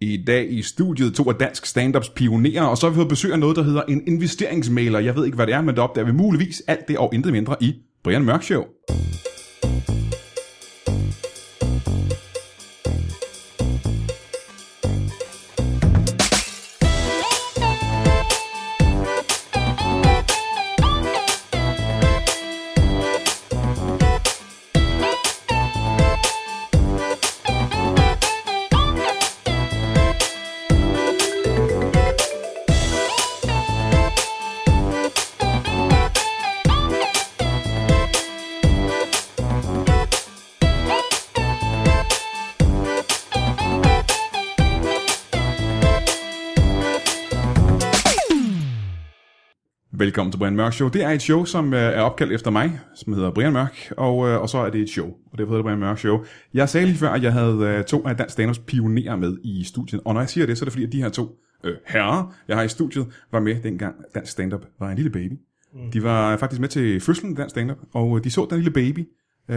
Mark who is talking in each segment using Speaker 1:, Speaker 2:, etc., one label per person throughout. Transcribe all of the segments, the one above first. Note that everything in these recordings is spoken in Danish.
Speaker 1: I dag i studiet to af dansk standups pionerer, og så har vi fået besøg af noget, der hedder en investeringsmaler. Jeg ved ikke, hvad det er, men det opdager vi muligvis alt det og intet mindre i Brian Mørk Show. Velkommen til Brian Mørk Show. Det er et show, som øh, er opkaldt efter mig, som hedder Brian Mørk, og, øh, og så er det et show, og derfor hedder det Brian Mørk Show. Jeg sagde lige før, at jeg havde øh, to af Dansk Standards pionerer med i studiet, og når jeg siger det, så er det fordi, at de her to øh, herrer, jeg har i studiet, var med dengang Dansk Standup var en lille baby. Mm. De var faktisk med til fødslen af Dansk Standup, og øh, de så den lille baby. Øh,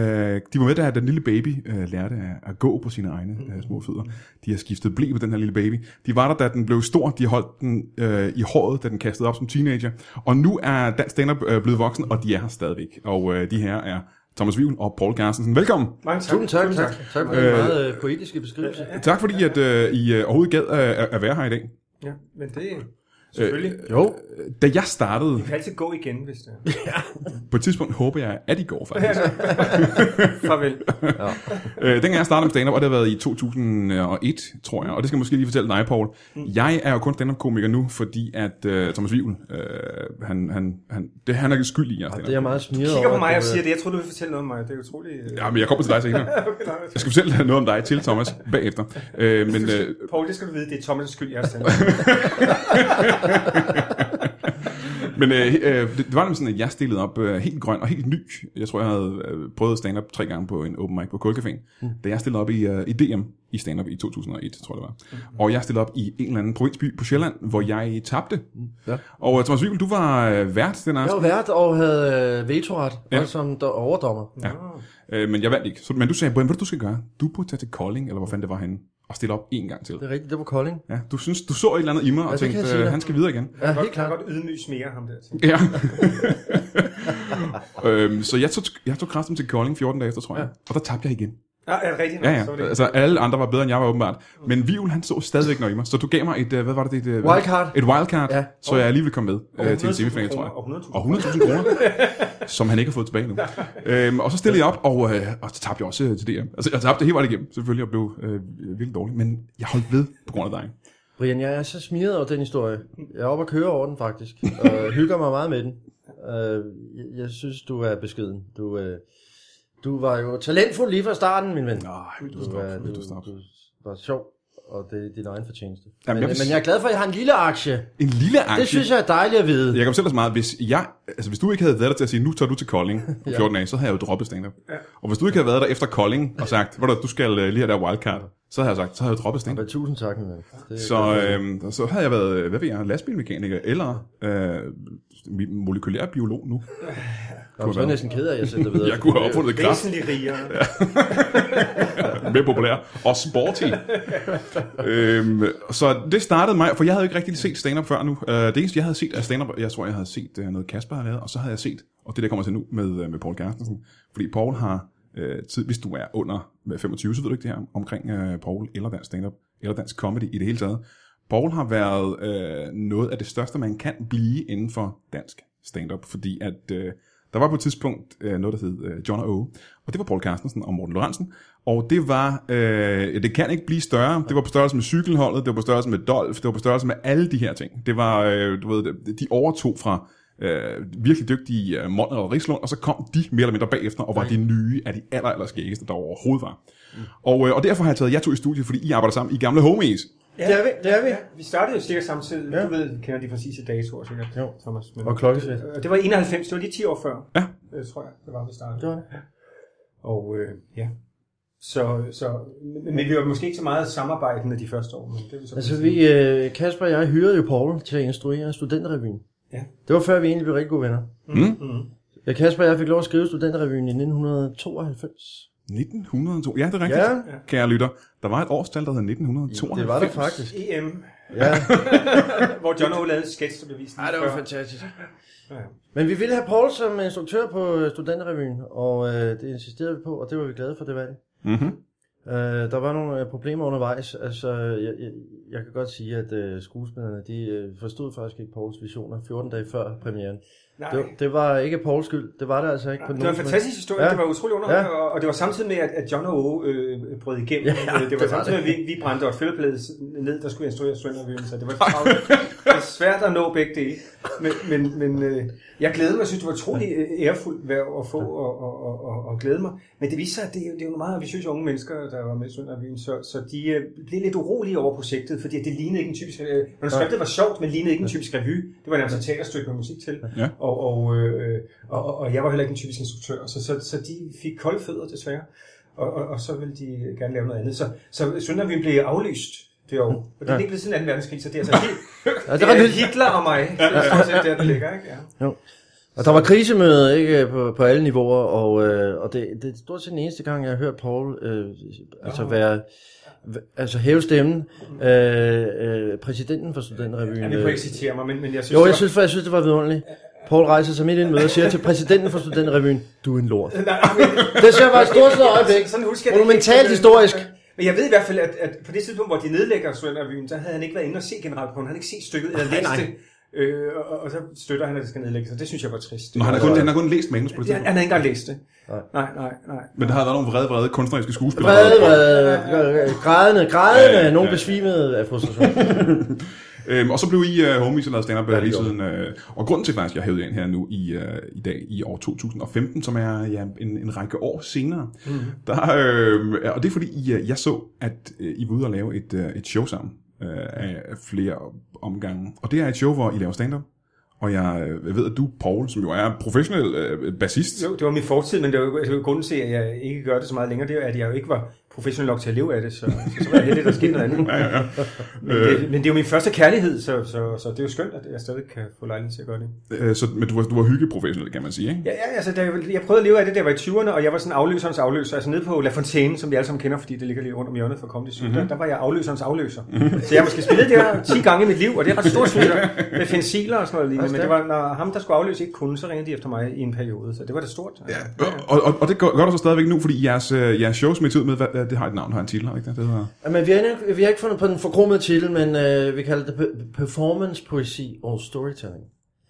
Speaker 1: de var med, da den lille baby øh, lærte at, at gå på sine egne øh, små fødder. De har skiftet blæ på den her lille baby. De var der, da den blev stor. De holdt den øh, i håret, da den kastede op som teenager. Og nu er Dansk Standup øh, blevet voksen, og de er her stadigvæk. Og øh, de her er Thomas Vivel og Paul Carstensen. Velkommen!
Speaker 2: Mange tak.
Speaker 3: Tusind tak, tak, tak, tak for den meget øh, poetiske beskrivelse.
Speaker 1: Tak fordi, at øh, I øh, overhovedet gad at, at- at være her i dag.
Speaker 2: Ja, men det er selvfølgelig. Øh,
Speaker 3: Jo,
Speaker 1: Da jeg startede,
Speaker 2: vi kan altid gå igen, hvis det er.
Speaker 1: på et tidspunkt håber jeg, at I går faktisk.
Speaker 2: Farvel.
Speaker 1: øh, dengang jeg startede med stand-up, og det har været i 2001, tror jeg, og det skal jeg måske lige fortælle dig, Paul.
Speaker 3: Mm.
Speaker 1: Jeg er jo kun stand-up-komiker nu, fordi at øh, Thomas Vivel, øh, han, han, han, det, han er skyld i, at jeg er
Speaker 3: det er jeg
Speaker 1: stand-up.
Speaker 3: meget smidt over.
Speaker 2: Kigger på mig og
Speaker 3: at du,
Speaker 2: siger
Speaker 3: øh,
Speaker 2: det. Jeg tror du vil fortælle noget om mig. Det er utroligt. øh,
Speaker 1: Ja, men jeg kommer til dig senere.
Speaker 2: Okay, nej,
Speaker 1: Jeg skal fortælle noget om dig til, Thomas, bagefter. Øh, men øh,
Speaker 2: Poul, det skal du vide. Det er Thomas' skyld, jeg har stemt.
Speaker 1: Men øh, øh, det, det var nemlig sådan, at jeg stillede op øh, helt grøn og helt ny. Jeg tror, jeg havde øh, prøvet stand-up tre gange på en open mic på Kulcaféen. Mm. Da jeg stillede op i, øh, i DM i stand-up i 2001, tror jeg det var. Mm. Og jeg stillede op i en eller anden provinsby på Sjælland, hvor jeg tabte. Mm.
Speaker 3: Ja.
Speaker 1: Og øh, Thomas Wivel, du var øh, vært den
Speaker 3: Jeg
Speaker 1: aften,
Speaker 3: var vært og havde øh, vetoret,
Speaker 1: Ja.
Speaker 3: ja. og som der overdommer.
Speaker 1: Ja. øh, men jeg vandt ikke. Så, men du sagde, Brian, hvad er det, du skal gøre? Du burde tage til Kolding, eller hvor fanden det var henne, og stille op en gang til.
Speaker 3: Det er rigtigt, det var Kolding.
Speaker 1: Ja, du synes, du så et eller andet i mig, og
Speaker 3: det kan
Speaker 1: tænkte,
Speaker 3: jeg sige
Speaker 1: øh,
Speaker 3: dig.
Speaker 1: han skal videre igen.
Speaker 3: Ja,
Speaker 2: Jeg
Speaker 3: helt
Speaker 2: kan
Speaker 3: klart.
Speaker 2: godt ydmyges mere ham der. tænker
Speaker 1: Ja. øhm, så jeg tog, jeg tog kraften til Kolding 14 dage efter, tror jeg. Ja. Og der tabte jeg igen.
Speaker 2: jeg. Ah, er det rigtigt?
Speaker 1: Ja,
Speaker 2: Så er
Speaker 1: ja.
Speaker 2: det
Speaker 1: Altså, alle andre var bedre, end jeg var åbenbart. Men Vivl, han så stadigvæk noget i mig. Så du gav mig et, øh, hvad var det, et... øh, hvad-
Speaker 3: Wildcard.
Speaker 1: Et wildcard, ja.
Speaker 3: Ja.
Speaker 1: så jeg alligevel kom med øh, til en
Speaker 2: 100.000
Speaker 1: semifinal, tror jeg.
Speaker 2: kroner,
Speaker 1: Og 100.000 kroner, som han ikke har fået tilbage nu. øhm, og så stillede jeg op, og, øh, og så tabte jeg også øh, til DM. Altså, jeg tabte hele vejen igennem, selvfølgelig, og blev øh, virkelig dårlig. Men jeg holdt ved på grund af dig.
Speaker 3: Brian, jeg er så smidt over den historie. Jeg er oppe at køre over den faktisk, og hygger mig meget med den. Øh, jeg- jeg synes, du er beskeden. Du, øh, du var jo talentfuld lige fra starten, min ven.
Speaker 1: Nej, vil du
Speaker 3: Du,
Speaker 1: stoppe?
Speaker 3: er,
Speaker 1: Vil
Speaker 3: du,
Speaker 1: du stoppe?
Speaker 3: du var sjov, og det er din egen fortjeneste.
Speaker 1: Jamen, jeg
Speaker 3: men, jeg
Speaker 1: vil s-
Speaker 3: men jeg er glad for, at jeg har en lille aktie.
Speaker 1: En lille aktie.
Speaker 3: Det synes jeg er dejligt at vide.
Speaker 1: Jeg kan fortælle dig så meget, hvis, jeg, altså hvis du ikke havde været der til at sige, nu tager du til Kolding på 14 dage, så havde jeg jo droppet stand-up. Ja. Og hvis du ikke havde været der efter Kolding og sagt, hvor du skal øh, lige have der wildcard, så havde jeg sagt, så havde jeg droppet stand-up.
Speaker 3: Men Tusind tak, min ven. Det-
Speaker 1: Så, øh, så havde jeg været, øh, hvad ved jeg, lastbilmekaniker eller øh, molekylær biolog nu.
Speaker 3: Nå, så er jeg næsten ked af, at jeg sendte videre.
Speaker 1: Jeg kunne have opfundet
Speaker 2: rigtigt.
Speaker 1: kraft,
Speaker 2: Væsentligt rigere.
Speaker 1: mere populær og sporty. øhm, så det startede mig, for jeg havde jo ikke rigtig set stand-up før nu. Øh, det eneste, jeg havde set af stand-up, jeg tror, jeg havde set øh, noget Kasper har lavet, og så havde jeg set, og det der kommer til nu med, øh, med Paul Carstensen, fordi Paul har øh, tid, hvis du er under 25, så ved du ikke det her, omkring øh, Paul eller dansk stand-up, eller dansk comedy i det hele taget. Paul har været øh, noget af det største, man kan blive inden for dansk stand-up, fordi at øh, der var på et tidspunkt øh, noget, der hed øh, John O. Og det var Paul Carstensen og Morten Lorentzen. Og det var, øh, ja, det kan ikke blive større. Det var på størrelse med cykelholdet, det var på størrelse med Dolf, det var på størrelse med alle de her ting. Det var, øh, du ved, de overtog fra øh, virkelig dygtige øh, Monner og Rislund, og så kom de mere eller mindre bagefter, og var de nye af de aller, aller skæggeste, der overhovedet var. Mm. Og, øh, og derfor har jeg taget jer to i studiet, fordi I arbejder sammen i gamle homies.
Speaker 2: Ja, det er vi. Det er vi. vi startede jo cirka samtidig. Du ved, kender de præcise datoer sikkert, jo. Thomas. Men,
Speaker 3: Og klokkeslæt.
Speaker 2: Øh, Det var i 91, det var lige 10 år før,
Speaker 1: Ja.
Speaker 2: øh, tror jeg, det var, vi startede.
Speaker 3: Det var det.
Speaker 2: Og øh, ja, så, så, men men vi var måske ikke så meget samarbejdende de første år. Men det er vi så
Speaker 3: Altså vi, øh, Kasper og jeg hyrede jo Paul til at instruere studenterrevyen.
Speaker 2: Ja.
Speaker 3: Det var før vi egentlig blev rigtig gode venner.
Speaker 1: Mm.
Speaker 2: Mm.
Speaker 3: Ja, Kasper og jeg fik lov at skrive studenterrevyen i 1992.
Speaker 1: 1902. Ja, det er rigtigt,
Speaker 3: Ja.
Speaker 1: ja. kære lytter. Der var et årstal, der hed 1992.
Speaker 3: Det var der faktisk.
Speaker 2: EM,
Speaker 3: Ja.
Speaker 2: E hvor John O. lavede en sketch, der beviste
Speaker 3: Ej, det var fantastisk. Men vi ville have Paul som instruktør på øh, Studenterevyen, og øh, det insisterede vi på, og det var vi glade for, det valg.
Speaker 1: Mm-hmm.
Speaker 3: Øh, der var nogle øh, problemer undervejs. Altså, jeg, jeg, jeg kan godt sige, at øh, skuespillerne de, øh, forstod faktisk ikke Pauls visioner 14 dage før premieren.
Speaker 2: Nej.
Speaker 3: Det, det var ikke Pauls skyld. Det var det altså ikke. på
Speaker 2: Det var
Speaker 3: nogen
Speaker 2: en
Speaker 3: måde.
Speaker 2: fantastisk historie,
Speaker 3: Ja.
Speaker 2: ja. det var utrolig underholdende,
Speaker 3: Ja.
Speaker 2: ja. og og det var samtidig med, at, at John O. Øh, brød igennem.
Speaker 3: Ja,
Speaker 2: Ja, det,
Speaker 3: det
Speaker 2: det
Speaker 3: var
Speaker 2: var samtidig med, at vi, vi brændte et fældeplade ned, der skulle instruere Søndervyen, så det var, travlt. det var svært at nå begge dele. Men, men, men øh, jeg glæder mig, jeg synes, det var utrolig øh, ærefuldt værv at få og, og, og, og, og glæde mig. Men det viser sig, at det, er jo- det er jo nogle meget ambitiøse unge mennesker, der var med i Søndervyen, så, så de øh, blev lidt urolige over projektet, fordi det lignede ikke en typisk... Øh, manuskriptet var sjovt, men lignede ikke en typisk revy. Det var nærmest et teaterstykke med musik til.
Speaker 1: Ja.
Speaker 2: Og, og, øh, og, og- og jeg var heller ikke en typisk instruktør, så, så, så de fik kolde fødder desværre, og, og, og så ville de gerne lave noget andet. Så, så Søndervien blev aflyst det år, og det er ikke blevet siden 2. verdenskrig, så det er altså helt,
Speaker 3: Mm. det
Speaker 2: det
Speaker 3: var
Speaker 2: er
Speaker 3: lidt-
Speaker 2: Hitler og mig, det er stort set der, det ligger, ikke? Ja.
Speaker 3: Og der var krisemøde ikke, på, på alle niveauer, og, øh, og det, det er stort set den eneste gang, jeg har hørt Paul øh, altså være, altså hæve stemmen.
Speaker 2: Mm.
Speaker 3: Øh, øh, præsidenten for Studenterevyen.
Speaker 2: Jeg vil
Speaker 3: øh,
Speaker 2: ikke citere mig, men, men jeg synes,
Speaker 3: Jo,
Speaker 2: det
Speaker 3: jeg
Speaker 2: var-
Speaker 3: synes, for, jeg synes, det var vidunderligt. Paul rejser sig midt i en møde og siger til præsidenten for Studenterevyen, du er en lort.
Speaker 2: Nej, men-
Speaker 3: Det synes jeg var et stort slået øjeblik.
Speaker 2: Sådan husker jeg det
Speaker 3: Monumentalt
Speaker 2: ikke. Men-
Speaker 3: historisk.
Speaker 2: Men jeg ved i hvert fald, at, at på det tidspunkt, hvor de nedlægger Søndervyen, der havde han ikke været inde og se generalprøven. Han havde ikke set stykket eller læst
Speaker 3: nej.
Speaker 2: det. Øh, og, og, og, så støtter han, at det skal nedlægges, og det synes jeg var trist.
Speaker 1: Nå, han har kun, han har kun læst manus på det
Speaker 2: Ja, han
Speaker 1: tidspunkt.
Speaker 2: har ikke engang læst det. Nej, nej, nej. nej.
Speaker 1: Men der har været nogle vrede, vrede kunstneriske skuespillere.
Speaker 3: Vrede, vrede, grædende, grædende, nogen besvimede af frustration.
Speaker 1: Øhm, og så blev I uh, homies og lavede stand-up ja, lige
Speaker 3: gjorde
Speaker 1: siden. Øh, og grunden til faktisk, at jeg hævede ind her nu i, øh, i dag, i år 2015, som er ja, en, en række år senere,
Speaker 3: Mhm.
Speaker 1: mm. der, øh, og det er fordi, I, øh, jeg så, at øh, I var ude og lave et, øh, et show sammen øh, af flere omgange. Og det er et show, hvor I laver stand-up. Og jeg, øh, jeg ved, at du, Paul, som jo er professionel øh, bassist,
Speaker 2: Jo, det var min fortid, men det var jo altså, grunden til, at jeg ikke gør det så meget længere, det er, at jeg jo ikke var professionel nok til at leve af det, så, så, så var jeg heldig, at der skete noget andet. ja, ja, Øh. ja. Men, det, men det er jo min første kærlighed, så, så, så det er jo skønt, at jeg stadig kan få lejlighed til at gøre det.
Speaker 1: øh, så, men du var, du var hyggeprofessionel, kan man sige, ikke?
Speaker 2: Ja, ja altså, da jeg, jeg prøvede at leve af det, da jeg var i 20'erne, og jeg var sådan afløserens afløser. Altså nede på La Fontaine, som vi alle sammen kender, fordi det ligger lige rundt om hjørnet for Comedy Zoo, mm-hmm. der, der, var jeg afløserens afløser. Mm-hmm. Så jeg har måske spillet der 10 gange i mit liv, og det er ret stort synes jeg, med fensiler og sådan noget lignende. Men det var, når ham, der skulle afløse, ikke kunne, så ringede de efter mig i en periode, så det var da stort. Altså.
Speaker 1: Ja. Og, og, og det gør, gør der så stadigvæk nu, fordi jeres, øh, jeres show, som I tog med, hvad, hvad- det har et navn, har en titel, har det ikke det? det hedder...
Speaker 3: Men vi har, endnu- vi har ikke fundet på den forkrummede titel, men øh, vi kalder det pe- performance, poesi og storytelling.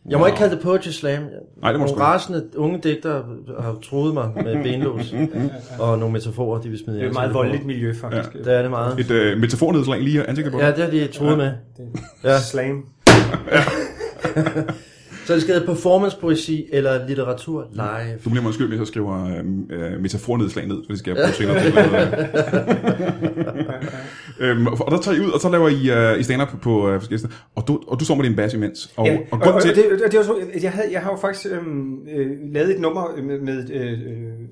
Speaker 3: Jeg må
Speaker 1: Wow.
Speaker 3: ikke kalde det poetry slam.
Speaker 1: Nej, det må du
Speaker 3: Nogle
Speaker 1: sgu ikke.
Speaker 3: rasende unge digtere har troet mig med benlås og nogle metaforer, de vil smide i
Speaker 2: Det er et meget
Speaker 3: ansigtet på mig.
Speaker 2: voldeligt miljø, faktisk. Ja.
Speaker 3: Det er det meget.
Speaker 1: Et øh, metafornedslag lige i ansigtet på
Speaker 3: Ja,
Speaker 1: dig.
Speaker 3: det har de troet med.
Speaker 2: Ja. Slam.
Speaker 3: Så det skal hedde performance, poesi eller litteratur live.
Speaker 1: Du bliver måske hvis jeg skriver øh, øh, metafornedslag ned, for det skal jeg bruge senere. til. øhm, og og der tager I ud, og så laver I, øh, I stand-up på øh, forskellige steder. Og du, og du står med din bass imens. Og,
Speaker 2: Ja,
Speaker 1: og, og grunden til...
Speaker 2: det, og det var så, at jeg, havde, jeg har jo faktisk øhm, øh, lavet et nummer, med, med, øh, øh,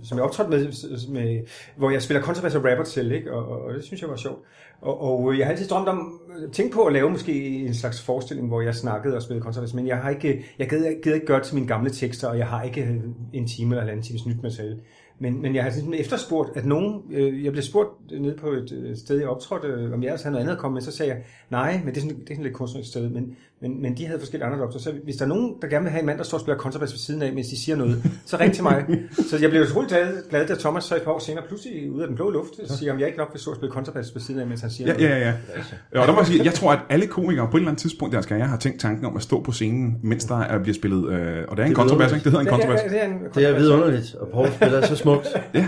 Speaker 2: som jeg optrådte med, s- med, hvor jeg spiller kontrabass og rapper til, ikke? Og, og, og det synes jeg var sjovt. Og, og øh, jeg har altid drømt om, tænkt på at lave måske en slags forestilling, hvor jeg snakkede og spillede kontrabass, men jeg har ikke, jeg gider, gider ikke gøre det til mine gamle tekster, og jeg har ikke øh, en time eller halvanden times nyt materiale. Men, men jeg har sådan efterspurgt, at nogen, øh, jeg blev spurgt nede på et øh, sted, jeg optrådte, øh, om jeg også havde noget andet at komme med, så sagde jeg, nej, men det er sådan, det er sådan et lidt kunstnerisk sted, men, men, men de havde forskellige andre optræder. Så hvis der er nogen, der gerne vil have en mand, der står og spiller kontrabas ved siden af, mens de siger noget, så ring til mig. så jeg blev utrolig glad, glad, da Thomas så et par år senere pludselig ud af den blå luft siger, om jeg ikke nok vil stå og spille kontrabas ved siden af, mens han siger
Speaker 1: Ja,
Speaker 2: noget.
Speaker 1: ja, ja. ja. Og der må jeg sige, jeg tror, at alle komikere på et eller andet tidspunkt i deres karriere har tænkt tanken om at stå på scenen, mens der er, bliver spillet... Øh, og det er en
Speaker 3: Det
Speaker 1: kontrabas,
Speaker 3: ved
Speaker 1: ikke? Det hedder en kontrabas.
Speaker 2: Det er, en
Speaker 3: Det er
Speaker 2: kontrabas.
Speaker 3: vidunderligt, og Paul spiller så smukt.
Speaker 1: Ja.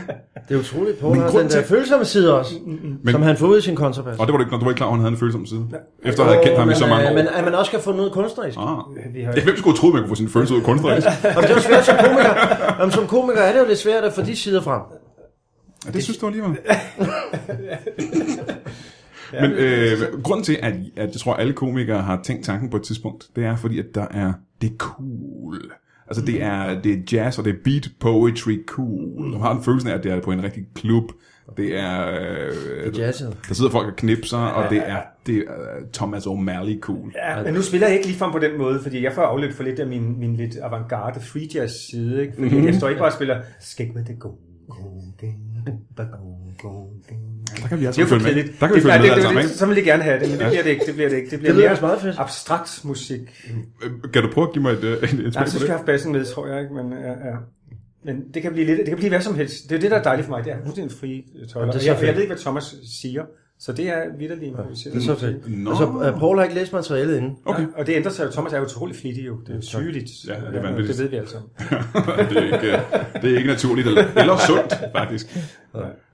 Speaker 3: Det er utroligt, Paul
Speaker 1: Men
Speaker 3: har
Speaker 1: grund
Speaker 3: den der
Speaker 1: til-
Speaker 3: følsomme side også,
Speaker 1: Men-
Speaker 3: som han får ud i sin kontrabas.
Speaker 1: Og det var du ikke, når du var ikke klar, over, at han havde en følsom side. Efter at have kendt ham i
Speaker 3: men,
Speaker 1: så mange
Speaker 3: øh,
Speaker 1: år.
Speaker 3: Men at man også kan få noget kunstnerisk.
Speaker 1: Ah.
Speaker 2: Vi har
Speaker 1: Ja, hvem skulle tro, man kunne få sin følelse ud kunstnerisk?
Speaker 3: Jamen, det er jo svært som komiker. Jamen, som komiker er det jo lidt svært at få de sider frem.
Speaker 1: Ja, det synes du alligevel. Men øh, grunden til, at, at jeg tror, at alle komikere har tænkt tanken på et tidspunkt, det er fordi, at der er det er cool. Altså det
Speaker 2: Mm.
Speaker 1: er, det er jazz, og det er beat poetry cool. Du har en følelse af, at det er på en rigtig klub. Det er... Øh,
Speaker 3: Jazzet.
Speaker 1: der sidder folk og knipser, og det er, det er øh, Thomas O'Malley cool.
Speaker 2: Ja, men nu spiller jeg ikke ligefrem på den måde, fordi jeg får afløb for lidt af min, min lidt avantgarde free jazz side, ikke? Fordi mm-hmm. jeg står ikke bare og spiller skæg med det gode.
Speaker 1: Der kan vi
Speaker 2: Det
Speaker 1: altså
Speaker 2: er jo for
Speaker 1: følge med.
Speaker 2: kedeligt.
Speaker 1: Der kan vi
Speaker 2: Det-
Speaker 1: følge
Speaker 2: nej,
Speaker 1: med
Speaker 2: det-
Speaker 1: alle
Speaker 2: det-
Speaker 1: sammen,
Speaker 2: det- Så vil jeg gerne have det, men det bliver det ikke. Det bliver det ikke. Det bliver
Speaker 3: Det lyder
Speaker 2: mere
Speaker 3: også meget fedt.
Speaker 2: abstrakt
Speaker 1: Mm.
Speaker 2: musik.
Speaker 1: ikke? Kan du prøve at give mig et, øh, et, et
Speaker 2: Nej,
Speaker 1: spil
Speaker 2: så
Speaker 1: på
Speaker 2: skal jeg
Speaker 1: det?
Speaker 2: have bassen med, tror jeg. Ikke? Men, ja, ja. men det kan blive lidt, det kan blive hvad som helst. Det er jo det, der er dejligt for mig. Det er fuldstændig fri øh, tøjler.
Speaker 3: Jamen, det
Speaker 2: Og
Speaker 3: er så
Speaker 2: jeg, og jeg
Speaker 3: fedt.
Speaker 2: ved ikke, hvad Thomas siger, så det er vidderligt improviseret.
Speaker 3: Det er så fedt.
Speaker 1: Nå.
Speaker 3: No. Altså, øh, Paul har ikke læst materialet inden.
Speaker 1: Okay.
Speaker 2: Og det ændrer sig jo. Thomas er jo utrolig flittig jo. Det er jo sygeligt.
Speaker 1: Ja, det er vanvittigt.
Speaker 2: Det ved vi alle sammen.
Speaker 1: det, er ikke, øh, det er ikke naturligt eller, eller sundt, faktisk.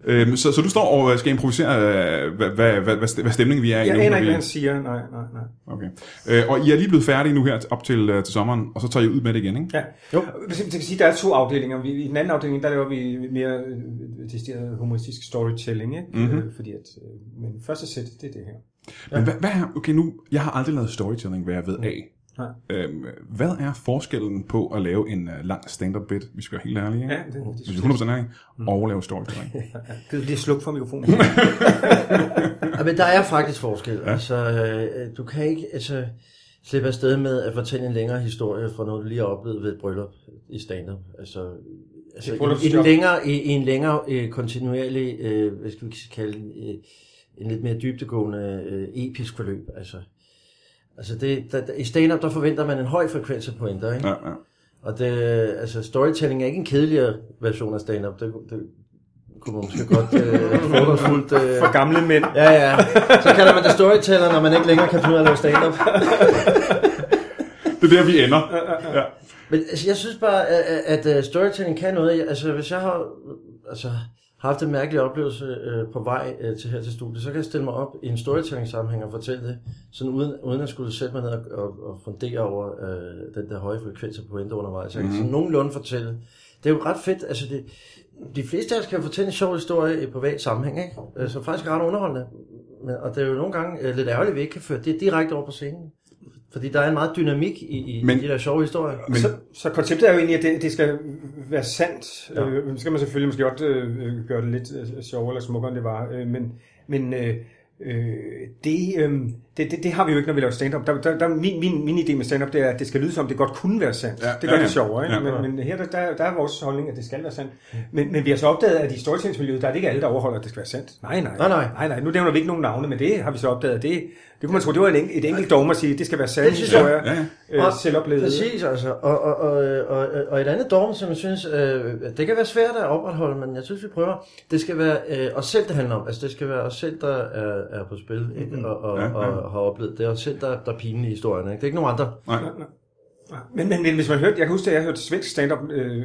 Speaker 1: Øhm, så, så du står og øh, skal improvisere, øh, hvad, hvad, hvad, hvad st- hvad stemningen vi er i nu.
Speaker 2: Jeg
Speaker 1: når
Speaker 2: aner ikke,
Speaker 1: vi-
Speaker 2: hvad han siger. Nej, nej, nej.
Speaker 1: Okay. Øh, og I er lige blevet færdige nu her op til, øh, til sommeren, og så tager I ud med det igen, ikke?
Speaker 2: Ja.
Speaker 3: Jo.
Speaker 2: Jo. Det kan sige, der er to afdelinger. Vi, I den anden afdeling, der laver vi mere øh, decideret humoristisk storytelling, ikke? Mm-hmm. Øh, fordi at, øh, men første sæt, det er det her.
Speaker 1: Men hvad, hvad er, okay nu, jeg har aldrig lavet storytelling, hvad jeg ved af.
Speaker 2: Nej.
Speaker 1: Øhm, hvad er forskellen på at lave en uh, lang stand-up bit, hvis vi er helt ærlige, ikke?
Speaker 2: Ja, det, det,
Speaker 1: Hvis vi
Speaker 2: det,
Speaker 1: er 100% ærlige, og lave storytelling?
Speaker 2: det, det, det sluk for mikrofonen.
Speaker 3: Ja, men der er faktisk forskel. Ja. Altså, øh, du kan ikke altså, slippe afsted med at fortælle en længere historie fra noget, du lige har oplevet ved et bryllup i stand-up. Altså, altså
Speaker 2: Et
Speaker 3: i, i,
Speaker 2: bryllupsjob.
Speaker 3: en længere, i, i en længere øh, kontinuerlig, øh, hvad skal vi kalde den, øh, en lidt mere dybtegående øh, episk forløb. Altså, altså det, der, der, i stand-up, der forventer man en høj frekvens af pointer, ikke?
Speaker 1: Ja, ja.
Speaker 3: Og det, altså storytelling er ikke en kedeligere version af stand-up. Det, det kunne man måske godt øh, fordomsfuldt... Øh,
Speaker 2: For gamle mænd.
Speaker 3: ja, ja. Så kalder man det storyteller, når man ikke længere kan finde ud af at lave stand-up.
Speaker 1: Det er der, vi ender. Ja.
Speaker 3: Men altså, jeg synes bare, at, at at storytelling kan noget. Jeg- Altså, hvis jeg har altså, haft en mærkelig oplevelse øh, på vej øh, til her til studiet, så kan jeg stille mig op i en storytelling-sammenhæng og fortælle det, sådan uden, uden at skulle sætte mig ned og, og, og fundere over øh, den der høje frekvens af pointer undervejs. Jeg kan sådan nogenlunde fortælle. Det er jo ret fedt. Altså, det, de fleste af os kan jo fortælle en sjov historie i privat sammenhæng, ikke? Øh, som faktisk er ret underholdende. Men, og det er jo nogle gange øh, lidt ærgerligt, at vi ikke kan føre det direkte over på scenen. Fordi der er en meget dynamik i, i
Speaker 1: Men-
Speaker 3: Men, de der sjove historier.
Speaker 1: Men-
Speaker 2: Men, så, så konceptet er jo egentlig, at det, det skal være sandt. Ja. Øh, så skal man selvfølgelig måske godt øh, gøre det lidt øh, sjovere eller smukkere, end det var. Øh, men men øh, øh, det, øh, det, det, det har vi jo ikke, når vi laver stand-up. Der, der, der, min, min, min idé med stand-up, det er, at det skal lyde som, det godt kunne være sandt.
Speaker 1: Ja,
Speaker 2: Ja, det gør
Speaker 1: ja,
Speaker 2: ja,
Speaker 1: ja.
Speaker 2: det sjovere. Ikke?
Speaker 1: Ja.
Speaker 2: Ja, men, men her der, der, der er vores holdning, at det skal være sandt. Men, men vi har så opdaget, at i storytellingsmiljøet, der er det ikke alle, der overholder, at det skal være sandt. Nej, nej.
Speaker 3: Nej, nej.
Speaker 2: nej, nej. Nu nævner vi ikke nogen navne, men det har vi så opdaget. Det, det kunne man tro, det var en, enk- et enkelt dogme at sige, det skal være sandt.
Speaker 3: Det synes jeg-
Speaker 2: historier,
Speaker 1: Ja,
Speaker 2: Øh,
Speaker 3: Og-
Speaker 2: selvoplevet.
Speaker 3: Præcis, altså. Og, og, og, og, og et andet dogme, som jeg synes, øh, det kan være svært at opretholde, men jeg synes, vi prøver. Det skal være øh, os selv, det handler om. Altså, det skal være os selv, der er, er på spil, ikke? Og, og,
Speaker 1: Ja,
Speaker 3: Mm-hmm. ja,
Speaker 1: ja.
Speaker 3: ja. og har oplevet. Det er os selv, der, der er pinen i historien, ikke? Det er ikke nogen andre.
Speaker 1: Nej.
Speaker 2: Men, men, men hvis man hørte, jeg kan huske, at jeg hørte svensk stand-up, øh,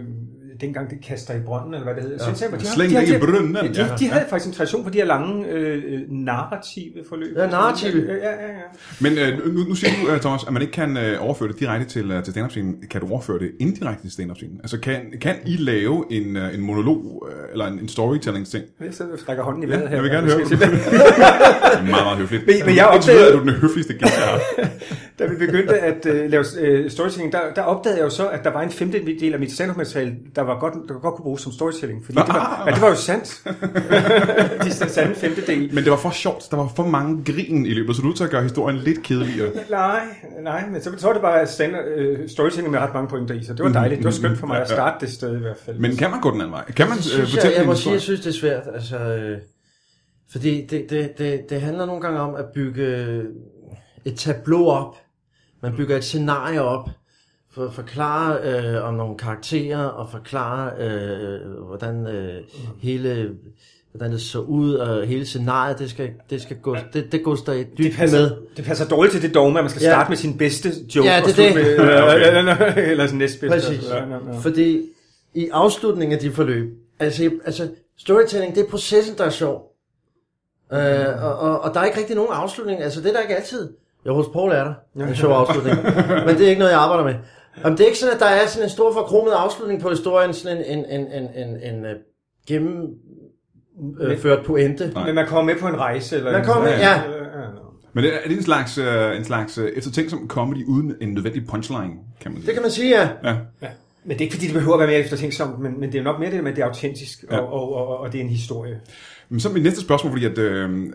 Speaker 2: dengang det kaster i brønden, eller hvad det hedder. Ja. Svensk, de,
Speaker 1: Slæng det i brønden,
Speaker 2: Ja, de,
Speaker 1: ja.
Speaker 2: de havde faktisk en tradition for de her lange øh, narrative forløb.
Speaker 3: Ja, narrative.
Speaker 2: Ja, ja, ja.
Speaker 1: Men øh, nu, nu siger du, øh, Thomas, at man ikke kan øh, overføre det direkte til, øh, til stand-up-scenen. Kan du overføre det indirekte til stand-up-scenen? Altså, kan, kan I lave en, øh, en monolog øh, eller en, en storytelling-ting?
Speaker 2: Jeg sidder og strækker hånden i
Speaker 1: Ja,
Speaker 2: vejret her.
Speaker 1: jeg vil gerne høre den. meget, meget høfligt.
Speaker 2: Men- men jeg
Speaker 1: Indtil videre
Speaker 2: opdagede-
Speaker 1: er du den høfligste gæst, jeg har.
Speaker 2: Da vi begyndte at øh, lave øh, storytelling, der, der opdagede jeg jo så, at der var en femtedel af mit stand-up-materiale, der, var godt, der godt kunne bruges som storytelling. Fordi det var, ja, det var jo sandt. de sande femtedel.
Speaker 1: Men det var for sjovt. Der var for mange grin i løbet, så du er nødt til at gøre historien lidt kedeligere.
Speaker 2: Nej, nej, men så, så var det bare stand, øh, storytelling med ret mange pointer i, så
Speaker 3: Mm,
Speaker 2: det var dejligt. Det var skønt for mig at starte det sted i hvert fald.
Speaker 1: Men kan man gå den anden vej? Kan man
Speaker 3: Det
Speaker 1: øh,
Speaker 3: synes jeg,
Speaker 1: fortælle
Speaker 3: jeg
Speaker 1: en
Speaker 3: må sige,
Speaker 1: historie?
Speaker 3: jeg synes, det er svært. Altså, øh, fordi det, det, det, det handler nogle gange om at bygge et tableau op. Man bygger et scenarie op for at forklare øh, om nogle karakterer og forklare, øh, hvordan øh, hele hvordan det så ud, og hele scenariet, det skal, det skal gå, det, det går der i
Speaker 2: det
Speaker 3: dybden
Speaker 2: passer,
Speaker 3: med.
Speaker 2: det passer dårligt til det dogme, at man skal
Speaker 3: Ja.
Speaker 2: starte med sin bedste joke.
Speaker 3: Ja, det er
Speaker 2: og slutte
Speaker 3: det.
Speaker 2: Med,
Speaker 1: Ja,
Speaker 2: øh, øh, øh, øh, eller sin næstbedste.
Speaker 3: Præcis.
Speaker 2: Ja, ja, ja.
Speaker 3: Fordi i afslutningen af de forløb, altså, altså storytelling, det er processen, der er sjov. Øh, og, og, og der er ikke rigtig nogen afslutning. Altså det er der ikke altid. Jo, hos Paul er der en sjov afslutning. Men det er ikke noget, jeg arbejder med. Om det er ikke sådan, at der er sådan en stor forkromet afslutning på historien, sådan en, en, en, en, en, en øh, gennemført pointe.
Speaker 1: Nej.
Speaker 2: Men man kommer med på en rejse. Eller
Speaker 3: Man kommer med-
Speaker 2: en,
Speaker 3: ja.
Speaker 2: ja, ja.
Speaker 1: Men det er, er det en slags, øh, en slags øh, eftertænksom comedy uden en nødvendig punchline, kan man sige?
Speaker 3: Det kan man sige, ja.
Speaker 1: Ja.
Speaker 2: Men det er ikke fordi, det behøver at være mere eftertænksomt, men, men det er jo nok mere det der med, at det er autentisk, og, og, og, og det er en historie.
Speaker 1: Men så mit næste spørgsmål, fordi at, øhm, øh,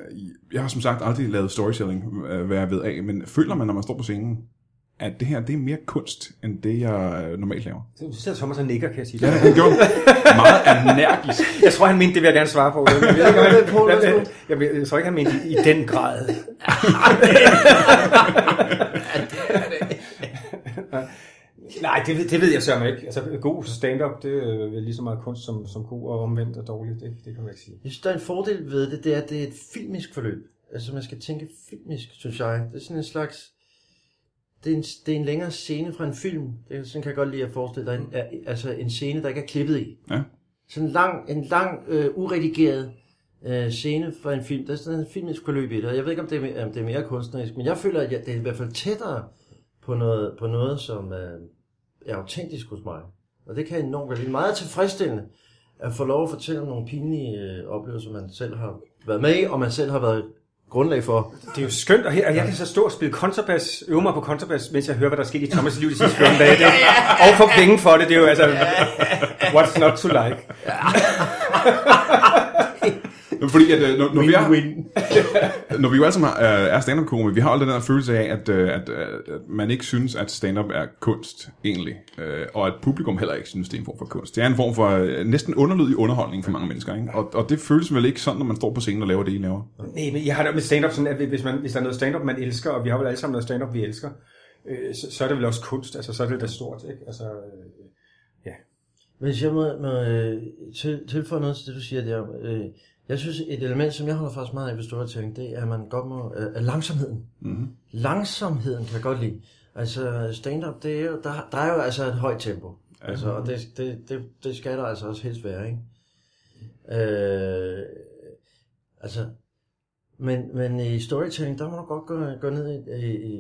Speaker 1: jeg har som sagt aldrig lavet storytelling, øh, hvad jeg ved af, men føler man, når man står på scenen, at det her, det er mere kunst, end det, jeg øh, normalt laver.
Speaker 2: Så sidder Thomas og nikker, kan jeg sige.
Speaker 1: Ja, han gjorde meget energisk.
Speaker 2: Jeg tror, han mente, det vil jeg gerne svare på. Jeg, jeg, jeg,
Speaker 3: Ja, Poul,
Speaker 2: jeg,
Speaker 3: værsgo.
Speaker 2: jeg, jeg, jeg, jeg tror ikke, han mente i, i den grad. Nej, det ved, det ved jeg sørme ikke. Altså, god stand-up, det øh, er lige så meget kunst som, som god og omvendt og dårligt. Det, det kan man ikke sige.
Speaker 3: Jeg synes, der er en fordel ved det, det er, at det er et filmisk forløb. Altså, man skal tænke filmisk, synes jeg. Det er sådan en slags... Det er en, det er en længere scene fra en film. Det, er- sådan kan jeg godt lide at forestille dig. En, er- altså, en scene, der ikke er klippet i.
Speaker 1: Ja.
Speaker 3: Sådan en lang, en lang øh, uredigeret øh, scene fra en film. Der er sådan en filmisk forløb i det. Og jeg ved ikke, om det, er, me- om det er mere kunstnerisk, men jeg føler, at jeg, det er i hvert fald tættere på noget, på noget som øh, er autentisk hos mig. Og det kan jeg enormt godt lide. Meget tilfredsstillende at få lov at fortælle om nogle pinlige øh, oplevelser, man selv har været med i, og man selv har været grundlag for.
Speaker 2: Det er jo skønt, og, her, og jeg kan så stå og spille kontrabas, øve mig på kontrabas, mens jeg hører, hvad der er sket i Thomas' liv de sidste 14 dage. Det, og få penge for det, det er jo altså... What's not to like?
Speaker 1: Men Fordi at, øh, når, når, vi er, når vi jo alle sammen har, øh, er stand up komikere vi har aldrig den her følelse af, at, øh, at, øh, at man ikke synes, at stand-up er kunst, egentlig. Øh, Og at publikum heller ikke synes, det er en form for kunst. Det er en form for øh, næsten underlydig underholdning for mange mennesker, ikke? Og, og det føles vel ikke sådan, når man står på scenen og laver det, I laver.
Speaker 2: Nej, men jeg har det med stand-up sådan, at hvis, man, hvis der er noget stand-up, man elsker, og vi har vel alle sammen noget stand-up, vi elsker, øh, så, så er det vel også kunst, altså så er det da stort, ikke? Altså, øh,
Speaker 3: Hvis jeg må, må øh, til, tilføje noget til det, du siger der. Øh, jeg synes, et element, som jeg holder faktisk meget af ved store ting, det er, at man godt må... Øh, er langsomheden. Mm-hmm. Langsomheden kan jeg godt lide. Altså, stand-up, det er jo, der, der er jo altså et højt tempo. Altså, og det, det, det, det skal der altså også helst være, ikke? Øh, altså, men, men i storytelling, der må du godt gå, gå ned i, i, i,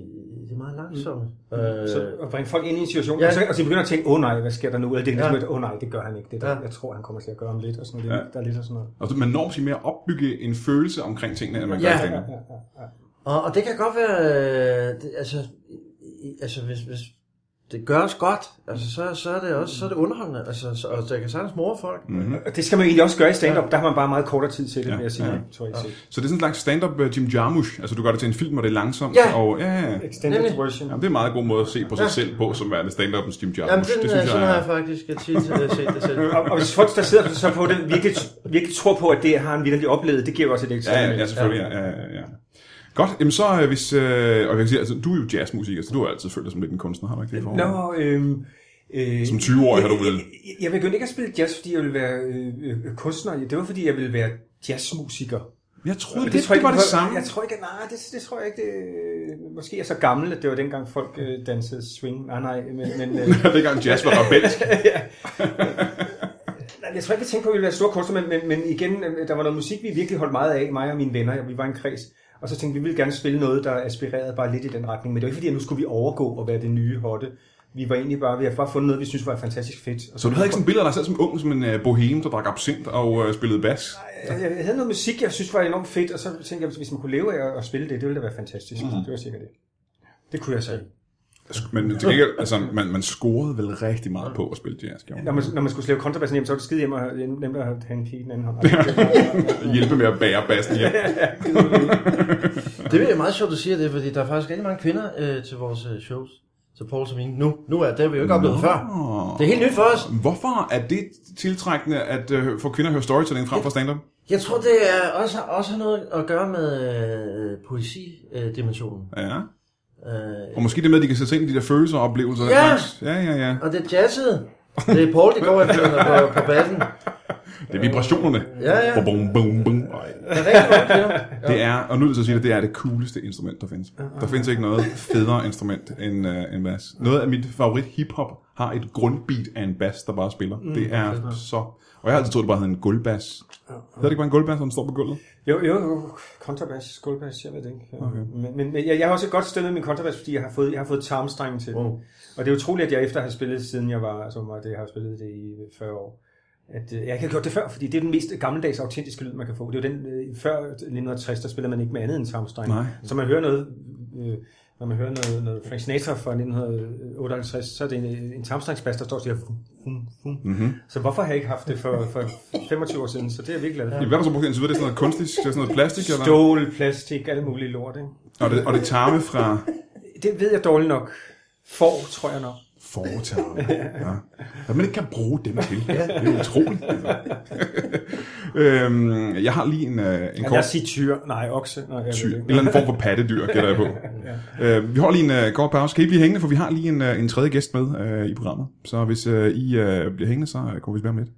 Speaker 3: i det meget langsomme. Mm. Øh,
Speaker 2: så at bringe folk ind i en situation,
Speaker 3: Ja.
Speaker 2: ja. og, så, og så begynder at tænke, åh oh, nej, hvad sker der nu? Eller det er ligesom,
Speaker 3: Ja.
Speaker 2: ja. åh oh, nej, det gør han ikke, det der,
Speaker 3: Ja.
Speaker 2: ja. jeg tror, han kommer til at gøre om lidt, og sådan noget, ja. der er lidt og sådan noget.
Speaker 1: Og så Altså, man når måske mere at opbygge en følelse omkring tingene, end man gør
Speaker 3: Ja.
Speaker 1: i stand-up.
Speaker 2: Ja, ja, ja.
Speaker 3: Og, og det kan godt være, øh, det, altså, i- i- altså hvis, hvis det gøres godt, altså, så, så er det også så er det underholdende, altså, så, og det kan sagtens more folk. Mm-hmm.
Speaker 2: Og det skal man egentlig også gøre i stand-up, ja. der har man bare meget kortere tid til det,
Speaker 1: Ja.
Speaker 2: ja. vil jeg sige,
Speaker 1: Ja.
Speaker 2: ja. tror jeg. Ja.
Speaker 1: Så det er sådan en slags stand-up øh, Jim Jarmusch. Altså, du gør det til en film, og det er langsomt.
Speaker 3: Ja.
Speaker 1: Og, ja, ja. ja.
Speaker 2: Extended
Speaker 3: Nemlig.
Speaker 2: version.
Speaker 1: Jamen, det er en meget god måde at se på sig selv på, som værende stand-up'ens Jim Jarmusch.
Speaker 3: Jamen, den, det synes sådan jeg, har
Speaker 1: er-
Speaker 3: jeg faktisk tit øh, set det selv.
Speaker 2: Og, og hvis folk, der sidder så på det, virkelig, virkelig tror på, at det har han virkelig oplevet, det giver jo også et ekstra.
Speaker 1: Ja, ja,
Speaker 2: element.
Speaker 1: ja selvfølgelig. Ja. Ja, ja, ja. Godt, jamen så øh, hvis... Øh, og jeg kan sige, altså, du er jo jazzmusiker, så du har altid følt dig som lidt en kunstner, har du ikke det? i forvejen?
Speaker 2: Nå, øhm, øh,
Speaker 1: Som 20-årig har du vel-
Speaker 2: Jeg, jeg, jeg begyndte ikke at spille jazz, fordi jeg ville være øh, øh, kunstner. Det var, fordi jeg ville være jazzmusiker.
Speaker 1: Jeg troede,
Speaker 2: Og
Speaker 1: det, det, det
Speaker 2: ikke,
Speaker 1: var det
Speaker 2: folk-
Speaker 1: samme.
Speaker 2: Jeg tror ikke, at- nej, det, det tror jeg ikke. Det, øh, måske er jeg så gammel, at det var dengang folk øh, dansede swing. Nej, nej, men, men øh,
Speaker 1: Dengang jazz var rebelsk.
Speaker 2: Nej, Jeg tror ikke, vi tænkte på, at vi ville være store kunstnere, men, men, men igen, øh, der var noget musik, vi virkelig holdt meget af, mig og mine venner, og vi var en kreds. Og så tænkte vi, vi ville gerne spille noget, der aspirerede bare lidt i den retning. Men det var ikke fordi, at nu skulle vi overgå og være det nye hotte. Vi var egentlig bare, vi havde bare fundet noget, vi synes var fantastisk fedt. Og
Speaker 1: Så du havde ikke sådan et billede af dig selv som ung, som en øh, boheme, der drak absint og øh, spillede bas?
Speaker 2: jeg, Øh, jeg havde noget musik, jeg synes var enormt fedt, og så tænkte jeg, hvis man kunne leve af at, at spille det, det ville da være fantastisk. Mm. Det var sikkert det. Det kunne jeg selv.
Speaker 1: Men til gengæld, altså, man, man scorede vel rigtig meget på at spille jazz, gjorde
Speaker 2: Når
Speaker 1: man?
Speaker 2: man, når man skulle slave kontrabassen hjem, så var det skide hjem og nemt at have en pige i den anden hånd.
Speaker 1: Hjælpe med at bære bassen hjem.
Speaker 3: Det er meget sjovt, du siger det, fordi der er faktisk rigtig mange kvinder øh, til vores øh, shows, til Pauls og mine, nu. Nu er det, det har vi jo ikke oplevet før. Det er helt nyt for os.
Speaker 1: Hvorfor er det tiltrækkende at øh, få kvinder at høre storytelling frem for stand-up?
Speaker 3: Jeg tror, det er også, også har noget at gøre med øh, poesi-dimensionen.
Speaker 1: Ja.
Speaker 3: Øh,
Speaker 1: Og måske det med, at de kan sætte sig ind i de der følelser og oplevelser. og den
Speaker 3: Ja.
Speaker 1: slags. Ja, ja, ja.
Speaker 3: og det er jazzet. Det er Paul, der går efter på, på bassen.
Speaker 1: Det er vibrationerne.
Speaker 3: Ja, ja.
Speaker 1: Bum, bum, bum. Ej.
Speaker 3: Der er rigtig mange kvinder.
Speaker 1: Det er, og nu er det så at sige, at det er det cooleste instrument, der findes. Der findes ikke noget federe instrument end uh, en bass. Noget af mit favorit hiphop har et grundbeat af en bass, der bare spiller.
Speaker 3: Mm,
Speaker 1: det er så... Og jeg har altid troet, det bare hed en gulvbass. Hedder det ikke bare en gulvbass, når den står på gulvet?
Speaker 2: Jo, jo, jo. kontrabas, guldbas, jeg ved det ikke. Okay. Men, men men jeg, jeg har også et godt sted med min kontrabas, fordi jeg har fået, jeg har fået tarmstrengen til wow. den. Og det er utroligt, at jeg efter har spillet, siden jeg var, altså mig, det, jeg har spillet det i 40 år, at øh, jeg ikke har gjort det før, fordi det er den mest gammeldags autentiske lyd, man kan få. Det er jo den, øh, før 1960, der spiller man ikke med andet end tarmstreng.
Speaker 1: Nej.
Speaker 2: Så man hører noget, øh, når man hører noget, noget Frank Sinatra fra 1958, så er det en, en tarmstrengsbas, der står og siger, fum, fum, fum. Mm-hmm. så hvorfor har jeg ikke haft det for, for 25 år siden? Så det er jeg virkelig glad for.
Speaker 1: Hvad er der så brugt indtil videre? Det er sådan noget kunstigt, det er sådan noget plastik, eller?
Speaker 2: Stål, plastik, alle mulige lort, ikke?
Speaker 1: Og det, og det er tarme fra...
Speaker 2: Det ved jeg dårligt nok. Får, tror jeg nok.
Speaker 1: foretager. Ja. At man ikke kan bruge dem til. Ja. Det er utroligt. Altså. øhm, jeg har lige en, øh, en
Speaker 2: Kan
Speaker 1: kort
Speaker 2: jeg sige tyr? Nej, okse. Nej, jeg ved
Speaker 1: tyr.
Speaker 2: det
Speaker 1: En
Speaker 2: ikke.
Speaker 1: eller anden form for pattedyr, gætter jeg på. ja. øh, vi holder lige en øh, kort pause. Kan I blive hængende, for vi har lige en, øh, en tredje gæst med øh, i programmet. Så hvis øh, I øh, bliver hængende, så øh, kommer vi tilbage om lidt.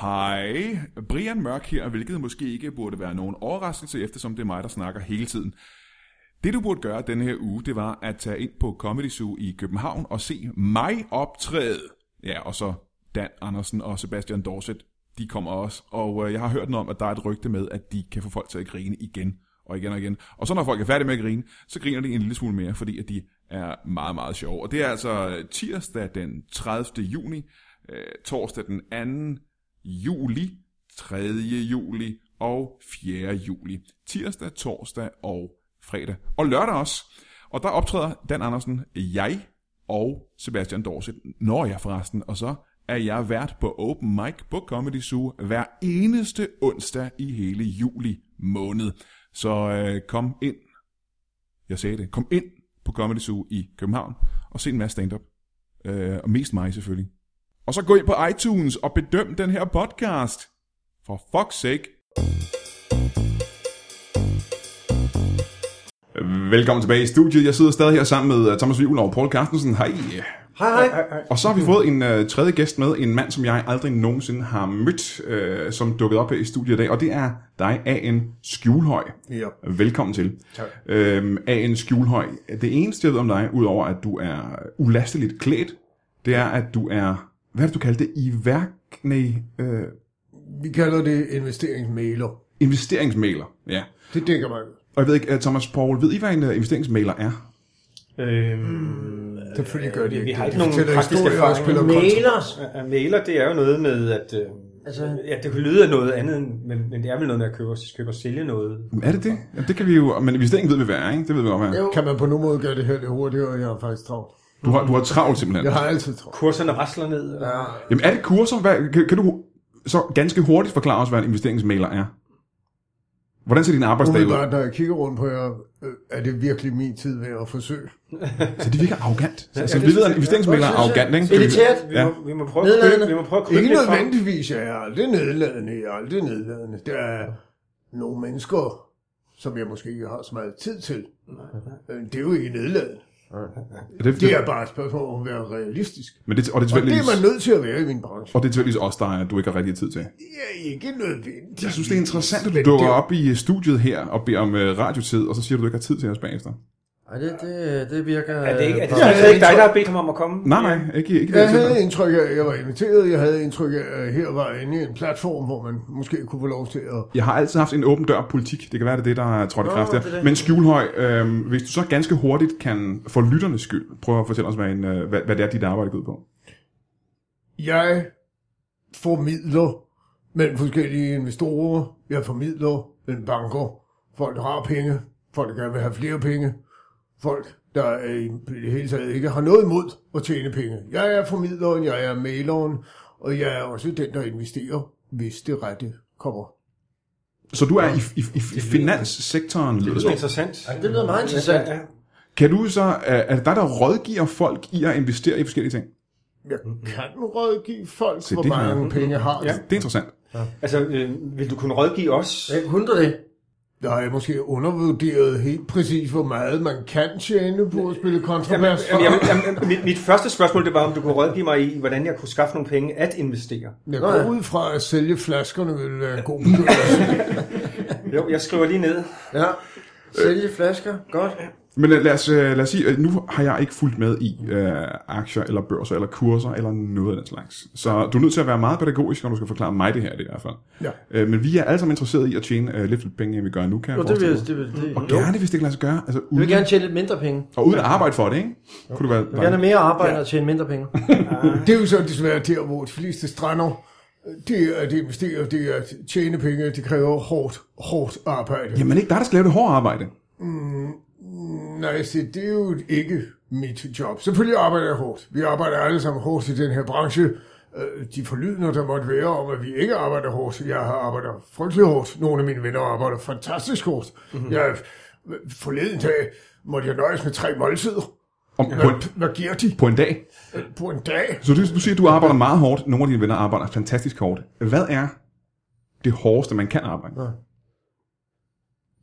Speaker 1: Hej, Brian Mørk her, hvilket måske ikke burde være nogen overraskelse, eftersom det er mig, der snakker hele tiden. Det du burde gøre denne her uge, det var at tage ind på Comedy Zoo i København og se mig optræde. Ja, og så Dan Andersen og Sebastian Dorset, de kommer også. Og øh, jeg har hørt noget om, at der er et rygte med, at de kan få folk til at grine igen og igen og igen. Og så når folk er færdige med at grine, så griner de en lille smule mere, fordi at de er meget, meget sjove. Og det er altså tirsdag den 30. juni, øh, torsdag den 2 juli, 3. juli og 4. juli. Tirsdag, torsdag og fredag. Og lørdag også. Og der optræder Dan Andersen, jeg og Sebastian Dorset. Når jeg forresten. Og så er jeg vært på Open Mic på Comedy Zoo hver eneste onsdag i hele juli måned. Så øh, kom ind. Jeg sagde det. Kom ind på Comedy Zoo i København og se en masse stand-up. Øh, og mest mig selvfølgelig. Og så gå ind på iTunes og bedøm den her podcast. For fuck's sake. Velkommen tilbage i studiet. Jeg sidder stadig her sammen med øh, Thomas Vivl og Paul Carstensen. Hej.
Speaker 3: Hej, hej.
Speaker 1: Og så har vi fået en uh, tredje gæst med, en mand, som jeg aldrig nogensinde har mødt, uh, som dukkede op her i studiet i dag, og det er dig, A.N. Skjulhøj.
Speaker 4: Ja.
Speaker 1: Velkommen til.
Speaker 4: Tak.
Speaker 1: Øhm, A.N. Skjulhøj, det eneste, jeg ved om dig, udover at du er ulasteligt klædt, det er, at du er, hvad er det, du kaldte det, i værk, nej, øh,
Speaker 4: Vi kalder det investeringsmailer.
Speaker 1: investeringsmaler. Ja.
Speaker 4: Det dækker mig.
Speaker 1: Og jeg ved ikke, øh, Thomas Paul, ved I, hvad en øh, investeringsmaler er? Hmm.
Speaker 2: Øhm,
Speaker 4: Selvfølgelig gør de
Speaker 2: vi-
Speaker 4: ikke
Speaker 2: vi har
Speaker 4: det.
Speaker 2: ikke
Speaker 4: De
Speaker 2: nogen
Speaker 4: fortæller
Speaker 2: praktisk
Speaker 4: historier og
Speaker 2: erfaring.
Speaker 4: spiller kontra.
Speaker 3: Mailer.
Speaker 2: øh, mailer, det er jo noget med, at... Øh, altså,
Speaker 3: Altså-
Speaker 2: ja, det kunne lyde af noget andet, end- men, men det er vel noget med at købe, og- købe og sælge noget.
Speaker 1: Er det det? Jamen, det kan vi jo, men investering ved vi, hvad er, ikke? Det ved vi godt, hvad er.
Speaker 3: Jo.
Speaker 4: Kan man på nogen måde gøre det her lidt hurtigere? Jeg er faktisk travlt.
Speaker 1: Du har, du har travlt simpelthen.
Speaker 4: Jeg har altid travlt.
Speaker 2: Kurserne rasler ned. Og,
Speaker 4: Ja,
Speaker 1: Jamen er det kurser? Hvad, kan, kan du så ganske hurtigt forklare os, hvad en investeringsmailer er? Hvordan ser din arbejdsdag ud?
Speaker 4: umiddelbart, når jeg kigger rundt på jer, øh, er det virkelig min tid værd at forsøge.
Speaker 1: Så det virker arrogant. Så, så
Speaker 2: det
Speaker 1: Altså, vi ved,
Speaker 2: synes
Speaker 1: at en investeringsmailer er
Speaker 3: jeg-
Speaker 1: arrogant, ikke?
Speaker 3: Elitært.
Speaker 2: Vi,
Speaker 1: Ja.
Speaker 2: ja. må, vi må prøve at
Speaker 3: Nedladende.
Speaker 2: krybe, vi må prøve at krybe
Speaker 4: Ikke
Speaker 2: lidt frem.
Speaker 4: nødvendigvis, jeg er aldrig nedladende. Jeg er aldrig nedladende. Der er nogle mennesker, som jeg måske ikke har så meget tid til. Øh, Det er jo ikke nedladende.
Speaker 1: Og det,
Speaker 4: Det
Speaker 1: det,
Speaker 4: er bare et spørgsmål om at være realistisk.
Speaker 1: men det, og det er
Speaker 4: Og det er
Speaker 1: tilfældigvis
Speaker 4: man nødt til at være i min branche.
Speaker 1: og det er tilfældigvis også dig, at du ikke har rigtig tid til.
Speaker 4: Det er ikke nødvendigt.
Speaker 1: Jeg synes, det er interessant, at du dukker op i øh, studiet her og beder om øh, radiotid, og så siger du, at du ikke har tid til os bagefter.
Speaker 3: Ej, det, det, det virker... øh,
Speaker 2: Er det ikke, er det,
Speaker 4: Ja,
Speaker 2: er det
Speaker 4: jeg
Speaker 2: ikke dig,
Speaker 4: tror-
Speaker 2: der har bedt ham om at komme?
Speaker 1: Nej, nej, ikke, ikke det.
Speaker 4: Jeg
Speaker 1: Jeg tænker.
Speaker 4: havde indtryk af, at jeg var inviteret. Jeg havde indtryk af, at her var inde i en platform, hvor man måske kunne få lov til at...
Speaker 1: Jeg har altid haft en åben dør politik. Det kan være, det er det, der er trådt i
Speaker 3: Nå,
Speaker 1: kraft
Speaker 3: det er
Speaker 1: der.
Speaker 3: det.
Speaker 1: Men Skjulhøj, øh, hvis du så ganske hurtigt kan, for lytternes skyld, prøve at fortælle os, hvad, en, øh, hvad, hvad det er, dit arbejde går ud på.
Speaker 4: Jeg formidler mellem forskellige investorer. Jeg formidler mellem banker. Folk, der har penge. Folk, der gerne vil have flere penge. Folk, der øh, i det hele taget ikke har noget imod at tjene penge. Jeg er formidleren, jeg er maileren, og jeg er også den, der investerer, hvis det rette kommer.
Speaker 1: Så du er i, i, i, i finanssektoren, lyder det
Speaker 2: Det er
Speaker 1: som.
Speaker 2: interessant.
Speaker 3: det lyder meget interessant.
Speaker 2: Ja, ja.
Speaker 1: Kan du så, er er det dig, der rådgiver folk i at investere i forskellige ting?
Speaker 4: Jeg kan rådgive folk,
Speaker 1: Se,
Speaker 4: hvor
Speaker 1: det har jeg.
Speaker 4: mange penge har de.
Speaker 2: Ja.
Speaker 1: Det er interessant.
Speaker 2: Altså, øh, vil du kunne rådgive os?
Speaker 3: Jeg hunder det.
Speaker 4: Der har jeg måske undervurderet helt præcis, hvor meget man kan tjene på at spille kontrabas.
Speaker 2: Jamen, jamen, jamen, mit, mit første spørgsmål, det var, om du kunne rådgive mig i, hvordan jeg kunne skaffe nogle penge at investere.
Speaker 4: Jeg
Speaker 3: Nå ja.
Speaker 4: går ud fra, at sælge flaskerne vil være en god begyndelse.
Speaker 2: Jo, jeg skriver lige ned.
Speaker 3: Ja. Sælge flasker. Godt.
Speaker 1: Men øh, lad os, øh, lad os sige, øh, nu har jeg ikke fulgt med i øh, aktier, eller børser, eller kurser, eller noget af den slags. Så du er nødt til at være meget pædagogisk, når du skal forklare mig det her, det er i hvert fald.
Speaker 4: Ja.
Speaker 1: Øh, men vi er alle sammen interesserede i at tjene øh, lidt flere penge, end vi gør nu, kan jeg
Speaker 3: Jo, det vil,
Speaker 1: forestille mig.
Speaker 3: det vil, det,
Speaker 1: Og
Speaker 3: jo.
Speaker 1: gerne, hvis det kan lade sig gøre. Altså,
Speaker 3: Jeg
Speaker 1: uden,
Speaker 3: vil gerne tjene lidt mindre penge.
Speaker 1: Og uden at arbejde for det, ikke? Kunne du være,
Speaker 3: Jeg vil gerne have mere arbejde og tjene mindre penge.
Speaker 4: Det er jo så desværre der, hvor de fleste strander. øh, Det er at investere, det er at tjene penge, det kræver hårdt, hårdt arbejde.
Speaker 1: Jamen ikke dig, der skal lave det hårde arbejde.
Speaker 4: Nej, se, det er jo ikke mit job. Selvfølgelig arbejder jeg hårdt. Vi arbejder alle sammen hårdt i den her branche. Øh, De forlydender, der måtte være om, at vi ikke arbejder hårdt. Jeg har arbejder frygtelig hårdt. Nogle af mine venner arbejder fantastisk hårdt. Mm-hmm. Jeg Forleden dag måtte jeg nøjes med tre måltider.
Speaker 1: Om, på, en,
Speaker 4: Hvad, hvad giver de
Speaker 1: på en dag.
Speaker 4: på en dag?
Speaker 1: Så du, du siger, at du arbejder meget hårdt. Nogle af dine venner arbejder fantastisk hårdt. Hvad er det hårdeste, man kan arbejde?
Speaker 3: Nå.